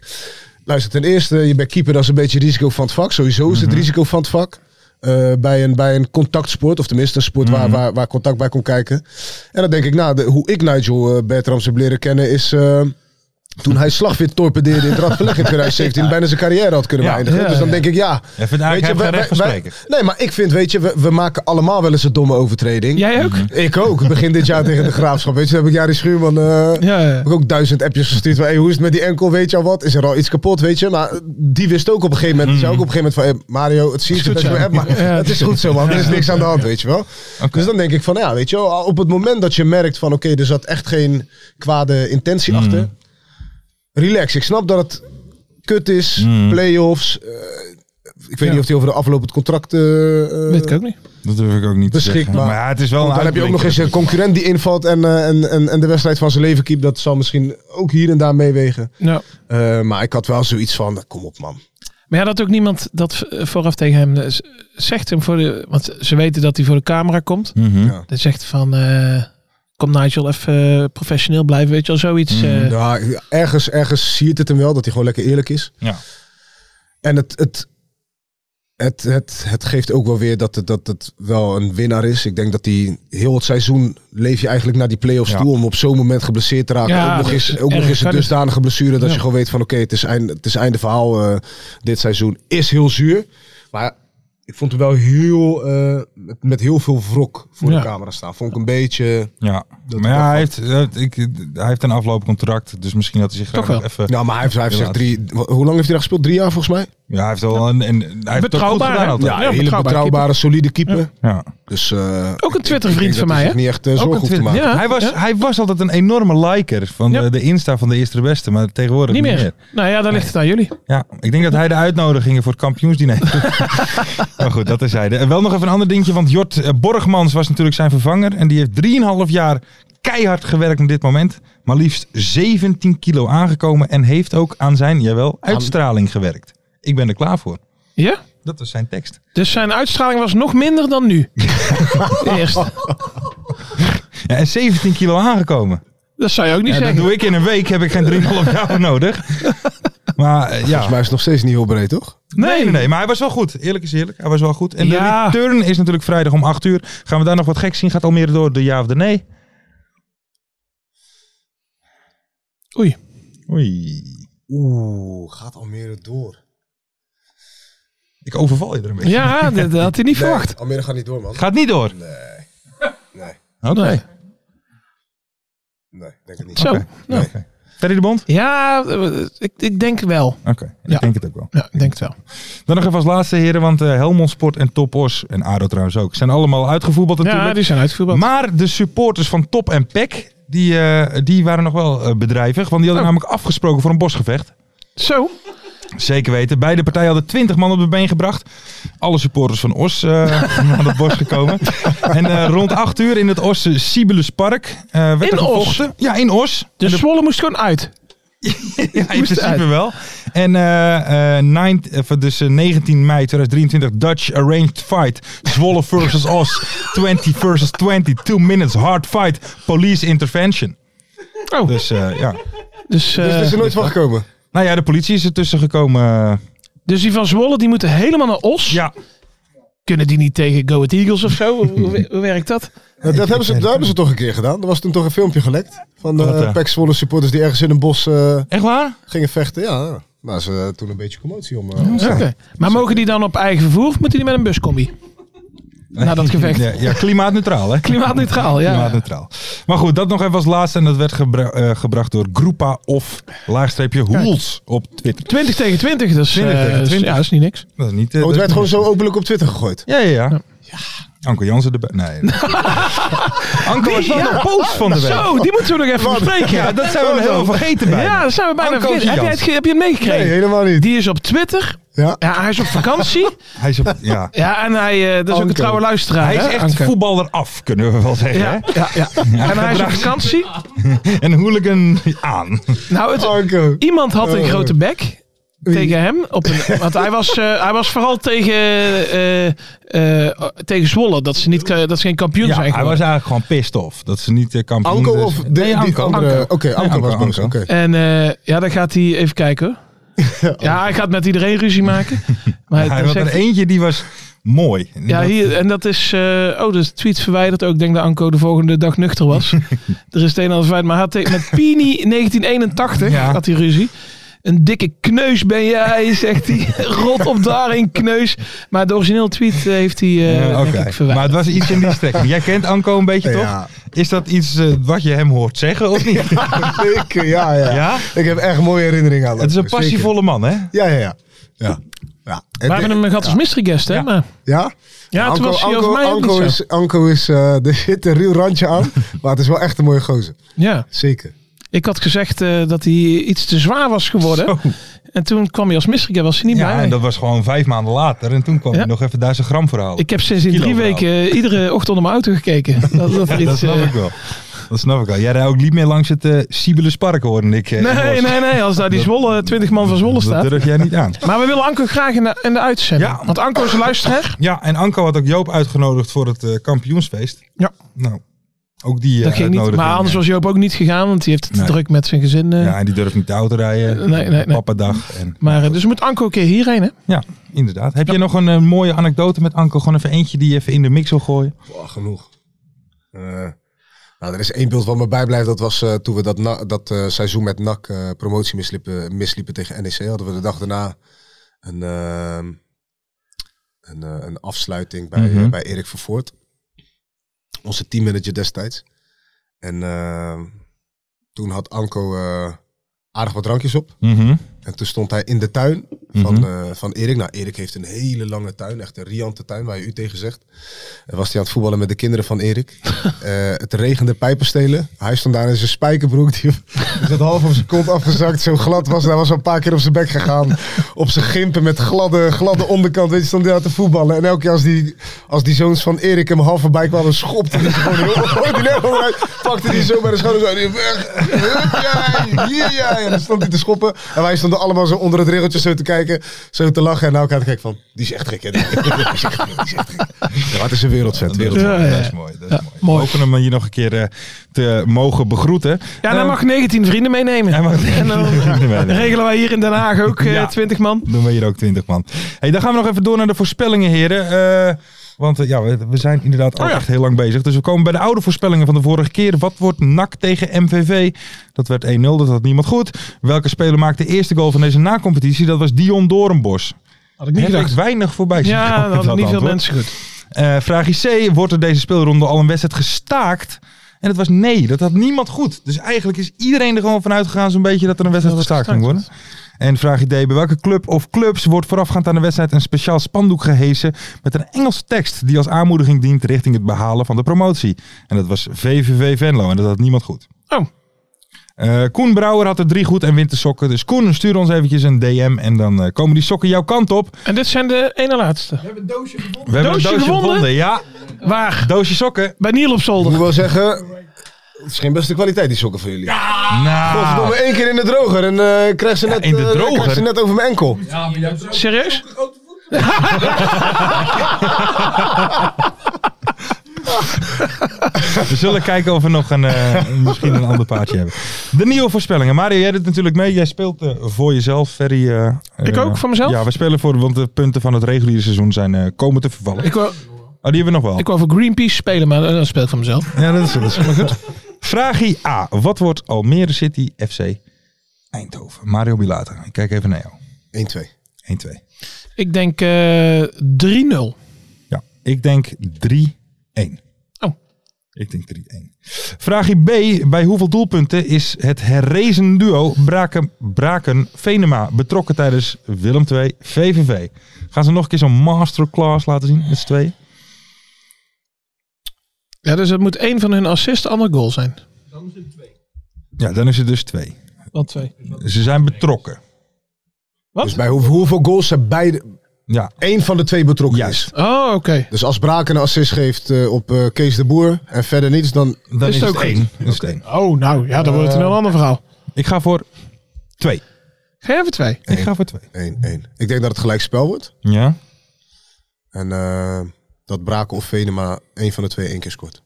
S5: luister, ten eerste, je bent keeper, dat is een beetje risico van het vak. Sowieso is het
S3: Mhm.
S5: risico van het vak. Eh, bij, een, bij een contactsport, of tenminste een sport
S3: Mhm.
S5: waar, waar, waar contact bij komt kijken. En dan denk ik, nou, de- hoe ik Nigel eh Bertram heb leren kennen is... eh, Toen hij slagwit torpedeerde in het
S3: *laughs*
S5: Radverleg in 2017, bijna zijn carrière had kunnen
S3: Ja,
S5: beëindigen.
S3: ja,
S5: dus dan
S3: ja.
S5: denk ik, ja.
S3: Hij vindt eigenlijk- hij heeft geen recht van spreken.
S5: Nee, maar ik vind, weet je, we, we maken allemaal wel eens een domme overtreding.
S4: Jij ook?
S5: Ik ook. Begin dit jaar tegen de Graafschap. Weet je, dan heb ik Jari Schuurman... eh,
S4: Ja, ja.
S5: heb ik ook duizend appjes gestuurd van, hey, hoe is het met die enkel, weet je al wat? Is er al iets kapot, weet je? Maar die wist ook op een gegeven moment, die zei ook op een gegeven moment van, hey, Mario, het ziet
S4: Is
S5: je
S4: goed
S5: best
S4: zo.
S5: wel, maar
S4: Ja.
S5: het is goed zo, man. Er is niks aan de hand, weet je wel?
S3: Oké.
S5: Dus dan denk ik van, ja, weet je wel, op het moment dat je merkt van, oké, er zat echt geen kwade intentie
S4: Mm.
S5: achter. Relax, ik snap dat het kut is, playoffs. eh, ik weet
S4: Mm. Ja.
S5: niet of hij over de aflopend contract... eh,
S4: Weet ik ook niet.
S3: Dat durf ik ook niet te
S5: Beschikbaar.
S3: zeggen. Maar ja, het is wel een
S5: dan heb je ook nog eens een
S3: uitblinker.
S5: concurrent die invalt en, eh, en, en, en de wedstrijd van zijn leven keept. Dat zal misschien ook hier en daar meewegen.
S4: Nou.
S5: Eh, maar ik had wel zoiets van, eh, kom op man.
S4: Maar ja, dat ook niemand dat v- vooraf tegen hem eh, z- zegt. Hem voor de, want ze weten dat hij voor de camera komt.
S3: Mhm.
S5: Ja.
S4: Dan zegt van, eh, kom Nigel, even eh, professioneel blijven. Weet je wel, zoiets. eh.
S5: Ja, ergens, ergens siert het hem wel dat hij gewoon lekker eerlijk is.
S3: Ja.
S5: En het, het, het, het, het geeft ook wel weer dat het, dat het wel een winnaar is. Ik denk dat hij heel het seizoen leef je eigenlijk naar die play-offs
S3: Ja.
S5: toe om op zo'n moment geblesseerd te raken.
S4: Ja,
S5: ook nog
S4: dat
S5: eens,
S4: is
S5: ook nog
S4: erg,
S5: eens een
S4: kan het.
S5: dusdanige blessure dat
S4: Ja.
S5: je gewoon weet van oké, het is einde, het is einde verhaal eh, dit seizoen. Is heel zuur, maar ik vond hem wel heel, eh, met, met heel veel wrok voor
S4: Ja.
S5: de camera staan. Vond ik een beetje...
S3: Ja,
S5: Dat
S3: maar ja,
S5: kan.
S3: hij heeft, eh, ik, hij heeft een afloopcontract, dus misschien had hij zich
S4: Toch
S3: graag nog
S4: wel.
S3: even...
S5: Nou, maar hij heeft, hij heeft
S3: Ja,
S5: zich drie... Hoe lang heeft hij daar gespeeld? Drie jaar volgens mij?
S3: Ja, hij heeft wel een... En, hij heeft het toch goed
S4: Betrouwbaar,
S3: gedaan
S4: hè?
S3: altijd.
S5: Ja,
S4: Ja,
S5: een hele
S4: betrouwbare
S5: betrouwbare, solide keeper.
S3: Ja.
S5: Dus, eh,
S4: ook een
S5: ik denk
S4: Twitter-vriend
S5: dat
S4: van
S5: hij
S4: mij,
S5: zich
S4: hè?
S5: niet echt eh, zorgen hoeft te
S3: Twitter-
S5: maken.
S4: Ja,
S3: hij, was,
S4: ja.
S3: hij was altijd een enorme liker van
S4: Ja.
S3: de, de Insta van de Eerste de Beste, maar tegenwoordig
S4: Niet meer. Nou ja, dan ligt het aan jullie.
S3: Ja, ik denk dat hij de uitnodigingen voor het kampioensdiner. maar goed, dat is hij. Wel nog even een ander dingetje, want Jort eh, Borgmans was natuurlijk zijn vervanger. En die heeft 3,5 jaar keihard gewerkt op dit moment. Maar liefst 17 kilo aangekomen en heeft ook aan zijn, jawel, uitstraling gewerkt. Ik ben er klaar voor.
S4: Ja?
S3: Dat was zijn tekst.
S4: Dus zijn uitstraling was nog minder
S3: *laughs*
S4: dan nu. Eerst.
S3: Ja, en 17 kilo aangekomen.
S4: Dat zou je ook niet
S3: Ja, dat
S4: zeggen.
S3: doe ik in een week, heb ik geen 3,5 jaar voor nodig. Maar eh, ja,
S5: Volgens mij is het nog steeds niet heel breed, toch?
S3: Nee, nee, nee, maar hij was wel goed. Eerlijk is eerlijk, hij was wel goed. En
S4: Ja.
S3: de return is natuurlijk vrijdag om 8 uur. Gaan we daar nog wat gek zien? Gaat Almere door de ja of de nee?
S4: Oei.
S3: Oei.
S5: Oeh, gaat Almere door.
S3: Ik overval je er een beetje.
S4: Ja, dat dat had hij niet verwacht.
S5: Almere gaat niet door, man.
S3: Gaat niet door.
S5: Nee,
S3: Oké.
S4: Nee.
S5: nee, denk het niet.
S4: Zo. Nou.
S3: Ferry de Bond?
S4: Ja, eh, ik, ik denk wel.
S3: Oké,
S4: Ja.
S3: ik denk het ook wel.
S4: Ja, ik denk het wel.
S3: Dan nog even als laatste heren, want eh, Helmond Sport en Top Os, en ADO trouwens ook, zijn allemaal uitgevoetbald natuurlijk.
S4: Ja, die zijn uitvoerbaar.
S3: Maar de supporters van Top en PEC, die, eh, die waren nog wel eh, bedrijvig, want die hadden
S4: Oh.
S3: namelijk afgesproken voor een bosgevecht.
S4: Zo.
S3: Zeker weten. Beide partijen hadden 20 man op de been gebracht. Alle supporters van Os eh, *laughs* aan het bos gekomen. en eh, rond 8 uur in het Osse Sibelus Park eh, werd
S4: In
S3: er
S4: Os?
S3: gevochten. Ja, in Os.
S4: Dus Zwolle moest gewoon uit.
S3: Ja, in
S4: moest
S3: principe
S4: uit.
S3: wel. En eh, eh, 9 of dus, eh, 19 mei 2023 Dutch Arranged Fight. Zwolle versus Os. 20 versus 20. 2 minutes hard fight. Police intervention.
S4: Oh, dus,
S3: Dus eh, ja.
S5: Dus
S4: eh,
S5: het is er nooit van gekomen.
S3: Nou ja, de politie is ertussen gekomen.
S4: dus die van Zwolle, die moeten helemaal naar Os.
S3: ja.
S4: Kunnen die niet tegen Go Ahead Eagles of zo? Hoe, hoe,
S3: *laughs*
S4: hoe werkt dat?
S5: Nou, dat hebben ze, dat hebben ze toch een keer gedaan. Er was toen toch een filmpje gelekt van de
S3: Wat, eh?
S5: uh, Pek Zwolle supporters die ergens in een bos eh,
S3: Echt waar?
S5: gingen vechten. Ja, nou, ze eh, toen een beetje commotie om. eh,
S4: Oké. Maar mogen die dan op eigen vervoer of moeten die met een buscombi? Na dat gevecht.
S3: Ja, ja, klimaatneutraal hè?
S4: Klimaatneutraal, ja.
S3: Klimaatneutraal. Maar goed, dat nog even als laatste. En dat werd gebra- eh, gebracht door Groepa of laagstreepje Hoels op Twitter.
S4: 20 tegen 20, dus
S3: 20
S4: eh,
S3: tegen
S4: is-
S3: 20.
S4: Ja, is niet niks.
S3: Dat is niet... eh,
S5: Oh, het
S3: dat-
S5: werd gewoon zo openlijk op Twitter gegooid.
S3: Ja, ja, ja. Anko Jansen erbij.
S4: *laughs*
S3: Nee. nee. Anko was wel
S4: ja.
S3: de post van de week.
S4: Zo, die moeten we nog even bespreken.
S3: Ja, dat zijn we helemaal vergeten bij.
S4: Ja, dat zijn we bijna
S3: Anko
S4: vergeten. Heb, jij het,
S3: Jansen.
S4: ge- heb je het meegekregen?
S5: Nee, helemaal niet.
S4: Die is op Twitter.
S5: Ja.
S4: Ja, hij is op vakantie.
S3: Hij is, op, *laughs*
S4: *laughs*
S3: ja.
S4: Ja, en hij eh, dat is ook
S5: Anko.
S4: een trouwe luisteraar.
S3: hij is
S4: hè,
S3: echt
S4: Anko.
S3: voetballer af, kunnen we wel zeggen.
S4: Ja,
S3: hè?
S4: ja, ja. En hij is op
S3: gedraagt-
S4: vakantie.
S3: En hooligan aan.
S4: Nou, het,
S5: Anko. Oh.
S4: iemand had een grote bek tegen hem. Op een, want hij was, eh, hij was vooral tegen, eh, eh, tegen Zwolle. Dat ze, niet, dat ze geen kampioen
S3: Ja, hij
S4: zijn
S3: was
S4: geworden.
S3: eigenlijk gewoon pissed off. Dat ze niet eh, kampioen...
S5: Anko
S3: dus-
S5: of de,
S3: Nee,
S5: die
S3: Anko.
S5: andere? Oké, Anko
S3: Anko,
S5: was boos.
S3: Anko.
S5: Oké.
S4: En eh, ja, dan gaat hij even
S3: *laughs*
S4: kijken hoor. Ja, hij gaat met iedereen ruzie maken. Maar
S3: Oh. Hij
S4: dan
S3: had
S4: zegt
S3: er eentje die was mooi. En
S4: Ja,
S3: dat-
S4: hier, en dat is. eh, oh, dus tweet verwijderd ook. Ik denk dat Anko de volgende dag nuchter
S3: *laughs*
S4: was. er is het een en ander feit. Maar hij had tegen- met Pini 1981
S3: Ja.
S4: had hij ruzie. Een dikke kneus ben jij, *laughs* zegt hij. Rot op daarin, kneus. Maar de origineel tweet eh, heeft hij eh
S3: Ja,
S4: denk
S3: oké.
S4: ik verwijderd.
S3: Maar het was iets in die strekking. Jij kent Anko een beetje, toch?
S5: Ja,
S3: Is dat iets eh, wat je hem hoort zeggen of
S5: *laughs*
S3: niet?
S5: zeker. Ja, ja.
S3: Ja?
S5: Ik heb echt mooie herinneringen aan
S3: Het is een
S5: Zeker.
S3: passievolle man, hè?
S5: Ja, ja, ja. ja. ja. En
S4: we hebben hem gehad als mystery guest, hè?
S3: Ja.
S4: Maar,
S5: Ja?
S4: ja, toen was hij over mij ook
S5: Anko
S4: niet zo.
S5: is, Anko is eh, *laughs* er zit een ruw randje aan, maar het is wel echt een mooie gozer.
S4: Ja.
S5: Zeker.
S4: Ik had gezegd eh, dat hij iets te zwaar was geworden. En toen kwam hij als mystery guest, was hij niet
S3: Ja,
S4: bij.
S3: en dat was gewoon vijf maanden later. En toen kwam
S4: Ja.
S3: hij nog even duizend gram voor halen.
S4: Ik heb sinds in
S3: Kilo
S4: drie
S3: verhaal.
S4: weken eh,
S3: *laughs*
S4: iedere ochtend naar mijn auto gekeken. Dat, dat er
S3: Ja, dat
S4: iets,
S3: snap
S4: eh,
S3: ik wel. Dat snap ik wel. Jij rijdt ook niet meer langs het eh Sibelus Park, hoorde ik. eh, in
S4: Nee,
S3: Los.
S4: nee, nee. Als daar die Zwolle, 20 man van Zwolle
S3: Dat
S4: staat.
S3: durf jij niet aan.
S4: Maar we willen Anko graag in de, in de uitzending.
S3: Ja.
S4: Want Anko is een luisteraar.
S3: Ja, en Anko had ook Joop uitgenodigd voor het eh, kampioensfeest.
S4: Ja.
S3: Nou, ook die eh,
S4: dat ging niet.
S3: uitnodiging,
S4: Maar anders
S3: eh.
S4: was Joop ook niet gegaan, want die heeft het te
S3: Nee.
S4: druk met zijn gezin. eh.
S3: Ja, en die durft niet de auto rijden.
S4: Nee, nee, nee.
S3: Pappadag. En,
S4: Maar eh, dus moet Anko een keer hierheen, hè?
S3: ja, inderdaad. Heb jij nog een eh, mooie anekdote met Anko? Gewoon even eentje die je even in de mix wil gooien.
S5: Boah, genoeg. Eh, nou, er is één beeld wat me bijblijft. Dat was eh, toen we dat, na- dat eh, seizoen met NAC eh, promotie misliepen, misliepen tegen NEC. Hadden we de dag daarna een, ehm, een, eh, een afsluiting bij,
S3: Mhm.
S5: eh, bij Erik Vervoort. Onze teammanager destijds. En ehm, toen had Anko eh, aardig wat drankjes op. En toen stond hij in de tuin van,
S3: Mhm.
S5: eh, van Erik. Nou, Erik heeft een hele lange tuin, echt een riante tuin, waar je u tegen zegt. En was hij aan het voetballen met de kinderen van Erik. Eh, het regende pijpenstelen. Hij stond daar in zijn spijkerbroek, die *laughs* die zat half op zijn kont afgezakt, zo glad was. En hij was al een paar keer op zijn bek gegaan. Op zijn gimpen met gladde, gladde onderkant, weet je, stond hij daar te voetballen. En elke keer als die, als die zoons van Erik hem half voorbij kwamen, schopte hij ze *laughs* gewoon heel ordinair vooruit. Pakte hij zo bij de schouder, zo, en die weg. Hup jij, hier jij. En dan stond hij te schoppen. En wij stonden allemaal zo onder het regeltje zo te kijken, zo te lachen. En nou elkaar te kijken van, die is echt gek, hè? Die *laughs* is echt gek, die is echt gek. Die is echt gek. Ja, het is een wereldvet, wereldvet.
S4: Ja, ja.
S3: Dat is mooi. Dat is
S4: Ja,
S3: mooi.
S4: mooi.
S3: We hopen hem hier nog een keer eh, te mogen begroeten.
S4: Ja, dan
S3: Eh,
S4: mag 19 vrienden meenemen.
S3: Hij
S4: *laughs*
S3: mag *laughs*
S4: En dan regelen wij hier in Den Haag ook eh,
S3: Ja.
S4: 20 man.
S3: Doen we hier ook 20 man. Hey, dan gaan we nog even door naar de voorspellingen, heren. Eh, want eh, ja, we, we zijn inderdaad al
S4: Oh ja.
S3: echt heel lang bezig. Dus we komen bij de oude voorspellingen van de vorige keer. Wat wordt NAC tegen MVV? Dat werd 1-0, dat had niemand goed. Welke speler maakt de eerste goal van deze nacompetitie? Dat was Dion Doornbos.
S4: Had ik
S3: Heb
S4: niet
S3: ik
S4: gedacht.
S3: weinig voorbij zien
S4: Ja,
S3: komen,
S4: dat hadden niet veel
S3: antwoord.
S4: mensen goed.
S3: Eh, vraag IC. Wordt er deze speelronde al een wedstrijd gestaakt? En het was nee, dat had niemand goed. Dus eigenlijk is iedereen er gewoon vanuit gegaan zo'n beetje dat er een wedstrijd
S4: Dat het
S3: gestaakt ging worden. En vraag ID, bij welke club of clubs wordt voorafgaand aan de wedstrijd een speciaal spandoek gehesen met een Engelse tekst die als aanmoediging dient richting het behalen van de promotie? En dat was VVV Venlo en dat had niemand goed.
S4: Oh.
S3: Eh, Koen Brouwer had er drie goed en wint de sokken. Dus Koen, stuur ons eventjes een DM en dan eh, komen die sokken jouw kant op. We
S4: En dit zijn de ene laatste.
S7: hebben een doosje gevonden.
S3: hebben
S4: Doosje gewonnen?
S3: Ja,
S4: Waar?
S3: doosje sokken.
S4: Bij Niel op
S5: Ik moet
S4: zolder.
S5: wel zeggen, het is geen beste kwaliteit die sokken van jullie. Ja.
S3: Nou.
S5: Godverdomme, één keer in de droger en eh, krijg, ze net,
S3: in de
S5: eh,
S3: droger?
S5: krijg ze net over mijn enkel.
S7: Ja, maar jij hebt zo'n
S4: Serieus?
S7: grote voet.
S3: We
S4: *laughs*
S3: zullen kijken of we nog een, eh, misschien een ander paardje hebben. De nieuwe voorspellingen. Mario, jij doet natuurlijk mee. Jij speelt eh, voor jezelf, Ferry. eh,
S4: Ik
S3: eh,
S4: ook, voor mezelf?
S3: Ja, we spelen voor, want de punten van het reguliere seizoen zijn eh, komen te vervallen.
S4: Ik wou,
S3: oh, die hebben we nog wel.
S4: ik wou voor Greenpeace spelen, maar eh, dat speel ik van mezelf.
S3: ja, dat is, dat is maar goed. Vraagie A. Wat wordt Almere City FC Eindhoven? Mario Bilata. Ik kijk even naar jou.
S5: 1-2.
S3: 1-2.
S4: Ik denk eh 3-0.
S3: Ja, ik denk 3-1.
S4: Oh.
S3: Ik denk 3-1. Vraagje B. Bij hoeveel doelpunten is het herrezen duo Braken, Braken Venema betrokken tijdens Willem 2 VVV? Gaan ze nog een keer zo'n masterclass laten zien met z'n tweeën?
S4: Ja, dus het moet één van hun assist, de ander goal zijn.
S3: Ja, dan is het dus twee.
S4: Wel twee.
S3: Ze zijn betrokken.
S5: Dus bij hoe- hoeveel goals ze beide,
S3: Ja,
S5: één van de twee betrokken
S3: juist.
S5: is.
S4: Oh, oké.
S5: Dus als Braken een assist geeft eh, op eh, Kees de Boer en verder niets, dan
S3: Dan
S4: Is
S3: is,
S4: het
S3: het
S4: ook
S3: één. Dan is het één.
S4: Oh, nou ja, dan wordt het een heel ander verhaal.
S3: Ik ga voor twee.
S4: Ga even twee.
S3: Ik ga voor twee.
S5: 1-1. Ik denk dat het gelijk spel wordt.
S3: Ja?
S5: En eh, dat Braken of Venema één van de twee één keer scoort.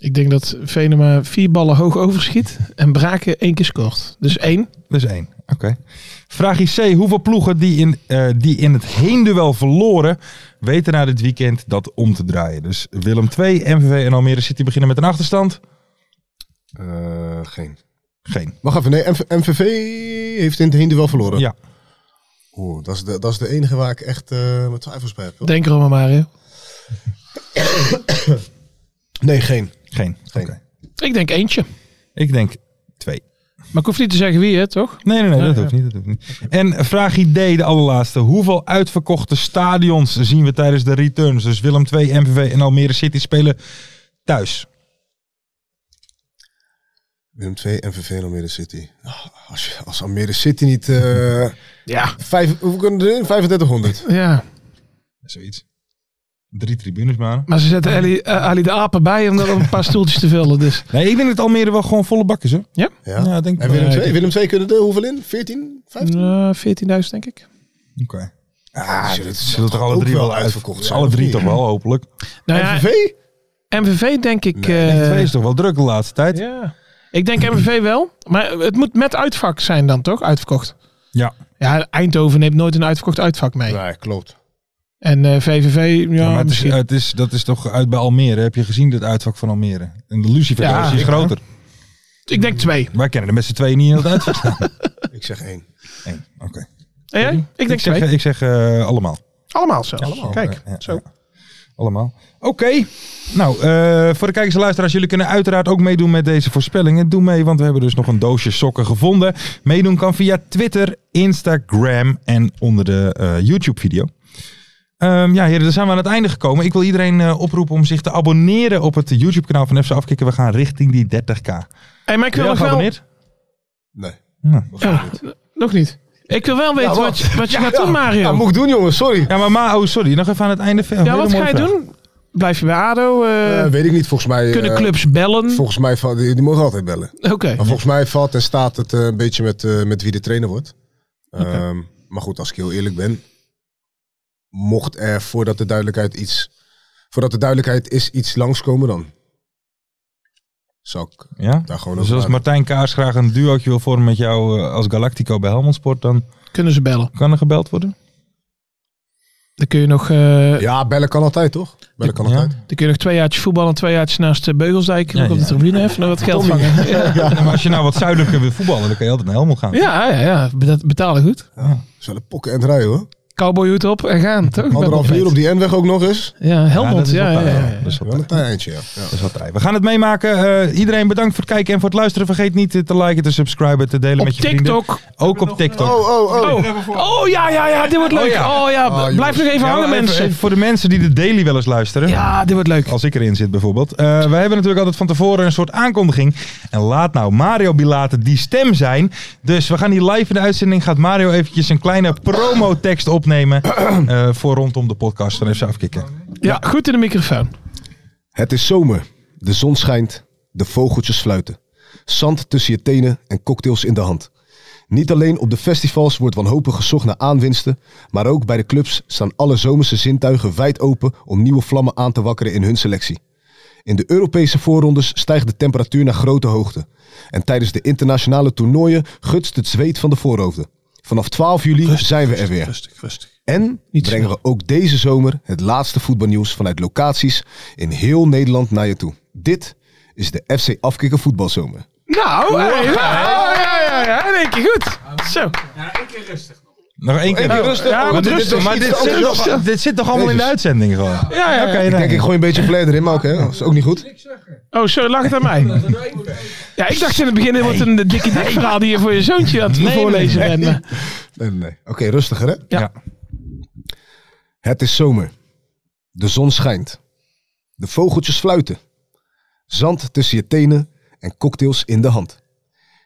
S4: Ik denk dat Venema vier ballen hoog overschiet en Braken één keer scoort. Dus één.
S3: Dus één. Oké. Vraag IC. Hoeveel ploegen die in, eh, die in het heenduel verloren, weten na dit weekend dat om te draaien? Dus Willem 2, MVV en Almere City beginnen met een achterstand.
S5: Eh, geen.
S3: Geen.
S5: Wacht even, nee, MV MVV heeft in het hinde wel verloren.
S3: Ja.
S5: Oeh, dat, is de, dat is de enige waar ik echt eh, mijn twijfels bij heb. hoor.
S4: Denk erom maar, Mario.
S5: Nee, geen.
S3: Geen. Oké.
S5: Geen.
S4: Ik denk eentje.
S3: Ik denk twee.
S4: Maar ik hoef niet te zeggen wie, hè, toch?
S3: Nee, nee, nee, dat
S4: ja.
S3: hoeft niet. Dat hoeft niet. En vraag ID, de allerlaatste. Hoeveel uitverkochte stadions zien we tijdens de returns? Dus Willem 2, MVV en Almere City spelen thuis.
S5: Willem 2, MVV en Almere City. Ah, Als, je- als Almere City niet... eh
S4: Ja.
S5: vijf, hoe kunnen we erin? 3500.
S4: Ja.
S3: Zoiets. Drie tribunes, maar.
S4: Maar ze zetten Ali, eh, Ali de apen bij om er een paar stoeltjes te vullen. Dus.
S3: Nee, ik denk dat Almere wel gewoon volle bak is, hoor.
S4: Ja?
S5: Ja.
S3: Ja, ik denk
S5: en
S3: wel.
S5: Willem
S4: Nee,
S5: 2? Willem 2 kunnen er hoeveel in? 14, 15?
S4: Eh, 14.000 denk ik.
S3: Oké. Ah,
S5: zullen-
S3: dat
S5: zal
S3: zullen toch alle
S5: ook
S3: drie
S5: wel
S3: wel
S5: uitverkocht
S3: uitverkocht
S5: zijn,
S3: Alle
S5: of
S3: drie
S5: niet?
S3: toch wel, hopelijk.
S4: Nou ja,
S5: MVV?
S4: MVV denk ik...
S3: Het
S4: eh,
S3: is toch wel druk de laatste tijd.
S4: ja. Ik denk MVV wel. Maar het moet met uitvak zijn dan, toch? Uitverkocht.
S3: Ja.
S4: Ja, Eindhoven neemt nooit een uitverkocht uitvak mee.
S5: Nee, klopt.
S4: En eh, VVV, ja,
S3: maar het is,
S4: misschien.
S3: het is, dat is toch uit bij Almere. Heb je gezien dat uitvak van Almere? En de Lucifer
S4: Ja,
S3: is
S4: ik-
S3: groter.
S4: ik denk twee.
S3: Wij kennen de met z'n tweeën niet in het uitvak
S4: *laughs*
S3: staan.
S5: Ik zeg 1.
S3: Eén. Oké.
S4: En jij? Ik denk
S3: zeg,
S4: twee.
S3: Ik zeg eh, allemaal.
S4: Allemaal zelfs.
S3: Allemaal.
S4: Kijk,
S3: Ja, ja,
S4: zo.
S3: ja. Allemaal. Oké. Nou, eh, voor de kijkers en luisteraars, jullie kunnen uiteraard ook meedoen met deze voorspellingen. Doe mee, want we hebben dus nog een doosje sokken gevonden. Meedoen kan via Twitter, Instagram en onder de eh, YouTube-video. Ehm, ja, heren, daar zijn we aan het einde gekomen. Ik wil iedereen eh, oproepen om zich te abonneren op het YouTube-kanaal van FC Afkikken. We gaan richting die 30k.
S4: Hey, maar ik wil
S3: Ja,
S4: nog wel...
S3: geabonneerd?
S5: Nee.
S3: Ja.
S4: Ja, nog niet. Ik wil wel weten
S5: Ja,
S4: wat, je- wat je gaat
S5: ja.
S4: doen, Mario.
S5: Ja, moet ik doen, jongens. Sorry.
S3: Ja, maar, ma oh, sorry. Nog even aan het einde.
S4: Ja, wat ga je doen? Blijf je bij ADO? eh,
S5: Eh, weet ik niet. Volgens mij...
S4: kunnen
S5: eh,
S4: clubs bellen?
S5: Volgens mij... valt- Die, die mogen altijd bellen.
S4: Oké.
S5: Maar volgens mij valt en staat het eh, een beetje met, eh, met wie de trainer wordt. Ehm, maar goed, als ik heel eerlijk ben. Mocht er voordat de duidelijkheid iets. Voordat de duidelijkheid is iets langskomen dan. Zou ik
S3: Ja?
S5: daar gewoon
S3: Dus
S5: over
S3: als
S5: praten.
S3: Martijn Kaars graag een duootje wil vormen met jou eh, als Galactico bij Helmond Sport, dan
S4: Kunnen ze bellen?
S3: kan er gebeld worden.
S4: Dan kun je nog, eh,
S5: Ja, bellen kan altijd toch? Bellen kan
S3: Ja.
S5: altijd.
S4: dan kun je nog twee jaartjes voetballen en twee jaartjes naast de Beugelsdijk
S3: Ja,
S4: nog op
S3: ja.
S4: de tribune even nog wat geld vangen. Ja.
S3: *laughs* Ja, maar als je nou wat zuidelijker wil voetballen, dan kan je altijd naar Helmond gaan.
S4: Ja, ja, ja, bet- betalen goed.
S5: Dat is wel een pokken en rijden hoor.
S4: Cowboyhoed op en gaan. Toch?
S5: Anderhalf uur op die N-weg ook nog eens.
S4: Ja,
S3: dat
S4: Helmond.
S3: is eh,
S4: Ja,
S3: wat
S4: ja,
S3: daar,
S4: ja,
S3: ja.
S4: ja.
S3: Dat is wat
S5: Wel
S3: daar.
S5: een klein eindje, ja. ja.
S3: Dat is wat daar. We gaan het meemaken. Eh, iedereen bedankt voor het kijken en voor het luisteren. Vergeet niet eh, te liken, te subscriben, te delen
S4: Op
S3: met je vrienden.
S4: TikTok.
S3: Ook op TikTok.
S5: Oh, oh, oh.
S4: Oh, oh ja, ja, ja, dit wordt leuk. Oh ja,
S5: Ah,
S4: blijf nog even
S3: Ja,
S4: hangen,
S3: even-
S4: mensen.
S3: even voor de mensen die de daily wel eens luisteren.
S4: Ja, dit wordt leuk.
S3: Als ik erin zit bijvoorbeeld. Eh, wij hebben natuurlijk altijd van tevoren een soort aankondiging. En laat nou Mario Bilate die stem zijn. Dus we gaan die live in de uitzending. Gaat Mario eventjes een kleine promotekst opnemen. eh, voor rondom de podcast van FC Afkikken.
S4: Ja, goed in de microfoon.
S5: Het is zomer. De zon schijnt. De vogeltjes fluiten. Zand tussen je tenen en cocktails in de hand. Niet alleen op de festivals wordt wanhopig gezocht naar aanwinsten, maar ook bij de clubs staan alle zomerse zintuigen wijd open om nieuwe vlammen aan te wakkeren in hun selectie. In de Europese voorrondes stijgt de temperatuur naar grote hoogte. En tijdens de internationale toernooien gutst het zweet van de voorhoofden. Vanaf 12 juli zijn we er weer. En
S4: Niet
S5: brengen we ook deze zomer het laatste voetbalnieuws vanuit locaties in heel Nederland naar je toe. Dit is de FC Afkikken Voetbalzomer.
S4: Nou, hey, nou, ja, ja, ja, ja, in één keer goed. Zo.
S7: Ja, ik keer rustig.
S3: Nog één keer.
S5: rustig.
S4: ja,
S3: maar
S4: want
S3: dit,
S4: rustig,
S3: maar dit zit, nog, dit zit toch allemaal in de
S5: Jezus.
S3: uitzending gewoon? Ja, ja.
S5: Ik denk, ik gooi een beetje flair erin, maar ook, hè. Dat is ook niet goed.
S4: Oh, zo lag het aan mij. Ja, ik dacht in het begin, dit wordt een eh, dikke dik verhaal die je voor je zoontje aan het
S3: Nee,
S4: voorlezen bent. eh.
S5: Nee, nee, nee. Oké, rustiger, hè.
S4: Ja.
S5: Het is zomer. De zon schijnt. De vogeltjes fluiten. Zand tussen je tenen en cocktails in de hand.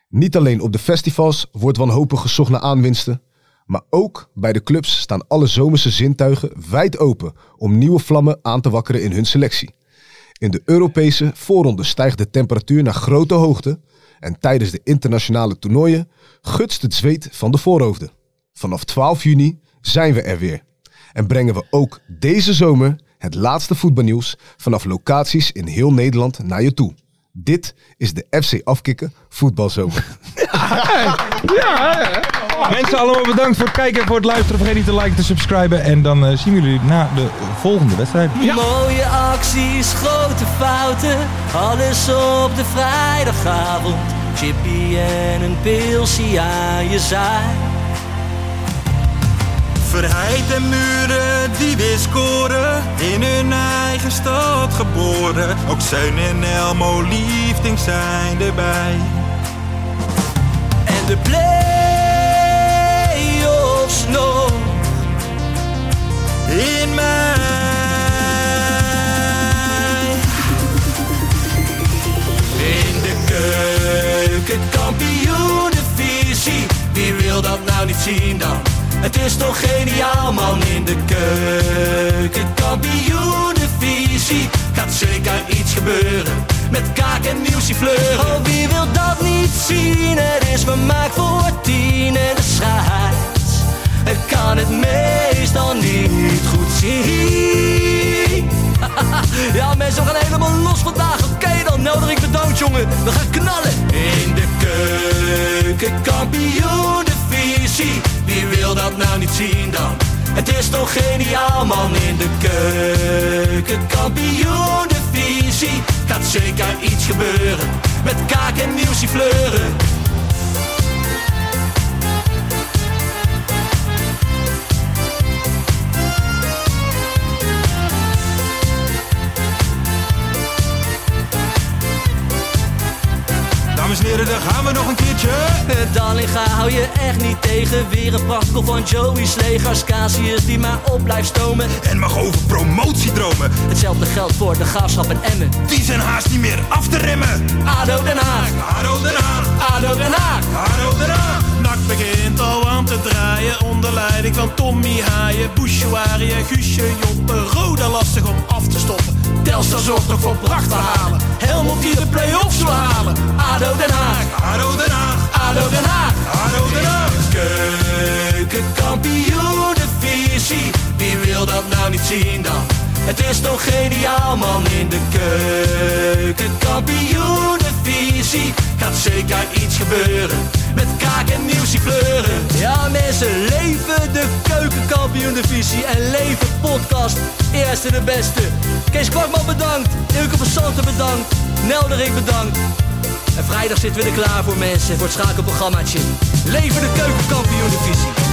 S5: Niet alleen op de festivals wordt wanhopig gezocht naar aanwinsten, maar ook bij de clubs staan alle zomerse zintuigen wijd open om nieuwe vlammen aan te wakkeren in hun selectie. In de Europese voorronde stijgt de temperatuur naar grote hoogte en tijdens de internationale toernooien gutst het zweet van de voorhoofden. Vanaf 12 juni zijn we er weer en brengen we ook deze zomer Het laatste voetbalnieuws vanaf locaties in heel Nederland naar je toe. Dit is de FC Afkikken Voetbalzomer.
S3: Mensen allemaal bedankt voor het kijken, voor het luisteren. Vergeet niet te liken, te subscriben. En dan eh, zien we jullie na de volgende wedstrijd.
S1: Mooie acties, grote fouten, alles op de vrijdagavond. Chippy en een pilsie aan je zaai.
S2: Verheid en muren die weer scoren, in hun eigen stad geboren. Ook Zijn en Elmo liefding zijn erbij.
S1: En de play-offs nog.
S2: In mij.
S1: In de keuken, kampioenenvisie. Wie wil dat nou niet zien dan? Het is toch geniaal man in de keuken, kampioenenvisie. Gaat zeker iets gebeuren met kaak en nieuwsie fleuren. Oh, wie wil dat niet zien? Het is vermaakt voor tien en de scheids. Het kan het meestal niet goed zien. Ja, mensen, we gaan helemaal los vandaag. Oké, dan nodig ik de dood, jongen. We gaan knallen. In de keuken, kampioenenvisie. Wie wil dat nou niet zien dan? Het is toch geniaal, man. In de keuken, kampioenenvisie. Gaat zeker iets gebeuren. Met kaak en nieuwsie fleuren.
S2: Dames en Dus heren, daar gaan we nog een keertje.
S1: Dallinga Eh, hou je echt niet tegen. Weer een prachtkel van Joey's legers. Casius die maar op blijft stomen. Eh,
S2: En mag over promotiedromen,
S1: Hetzelfde geldt voor de graafschap en Emmen.
S2: die zijn haast niet meer af te remmen.
S1: ADO Den Haag,
S2: Haro eraan,
S1: ADO Den Haag.
S2: haro eraan.
S8: Nak begint al aan te draaien onder leiding van Tommy Haaien, Bouchouari en Guusje Joppen. Roda lastig om af te stoppen.
S1: Telstar zorgt nog voor pracht te halen. Helmond die de play-offs wil halen. ADO Den Haag,
S2: Haro Den Haag,
S1: ADO Den Haag.
S2: Haro Den Haag.
S1: Keukenkampioenenvisie, wie wil dat nou niet zien dan? Het is toch geniaal man in de keukenkampioenenvisie Gaat zeker iets gebeuren, met kaak en nieuwsie kleuren Ja mensen, leven de keukenkampioenenvisie en leven podcast Eerste de beste Kees Kwakman bedankt, Ilke van Santen bedankt, Nelderik bedankt en vrijdag zitten we er klaar voor mensen, voor het schakelprogrammaatje. Leven de keukenkampioen divisie.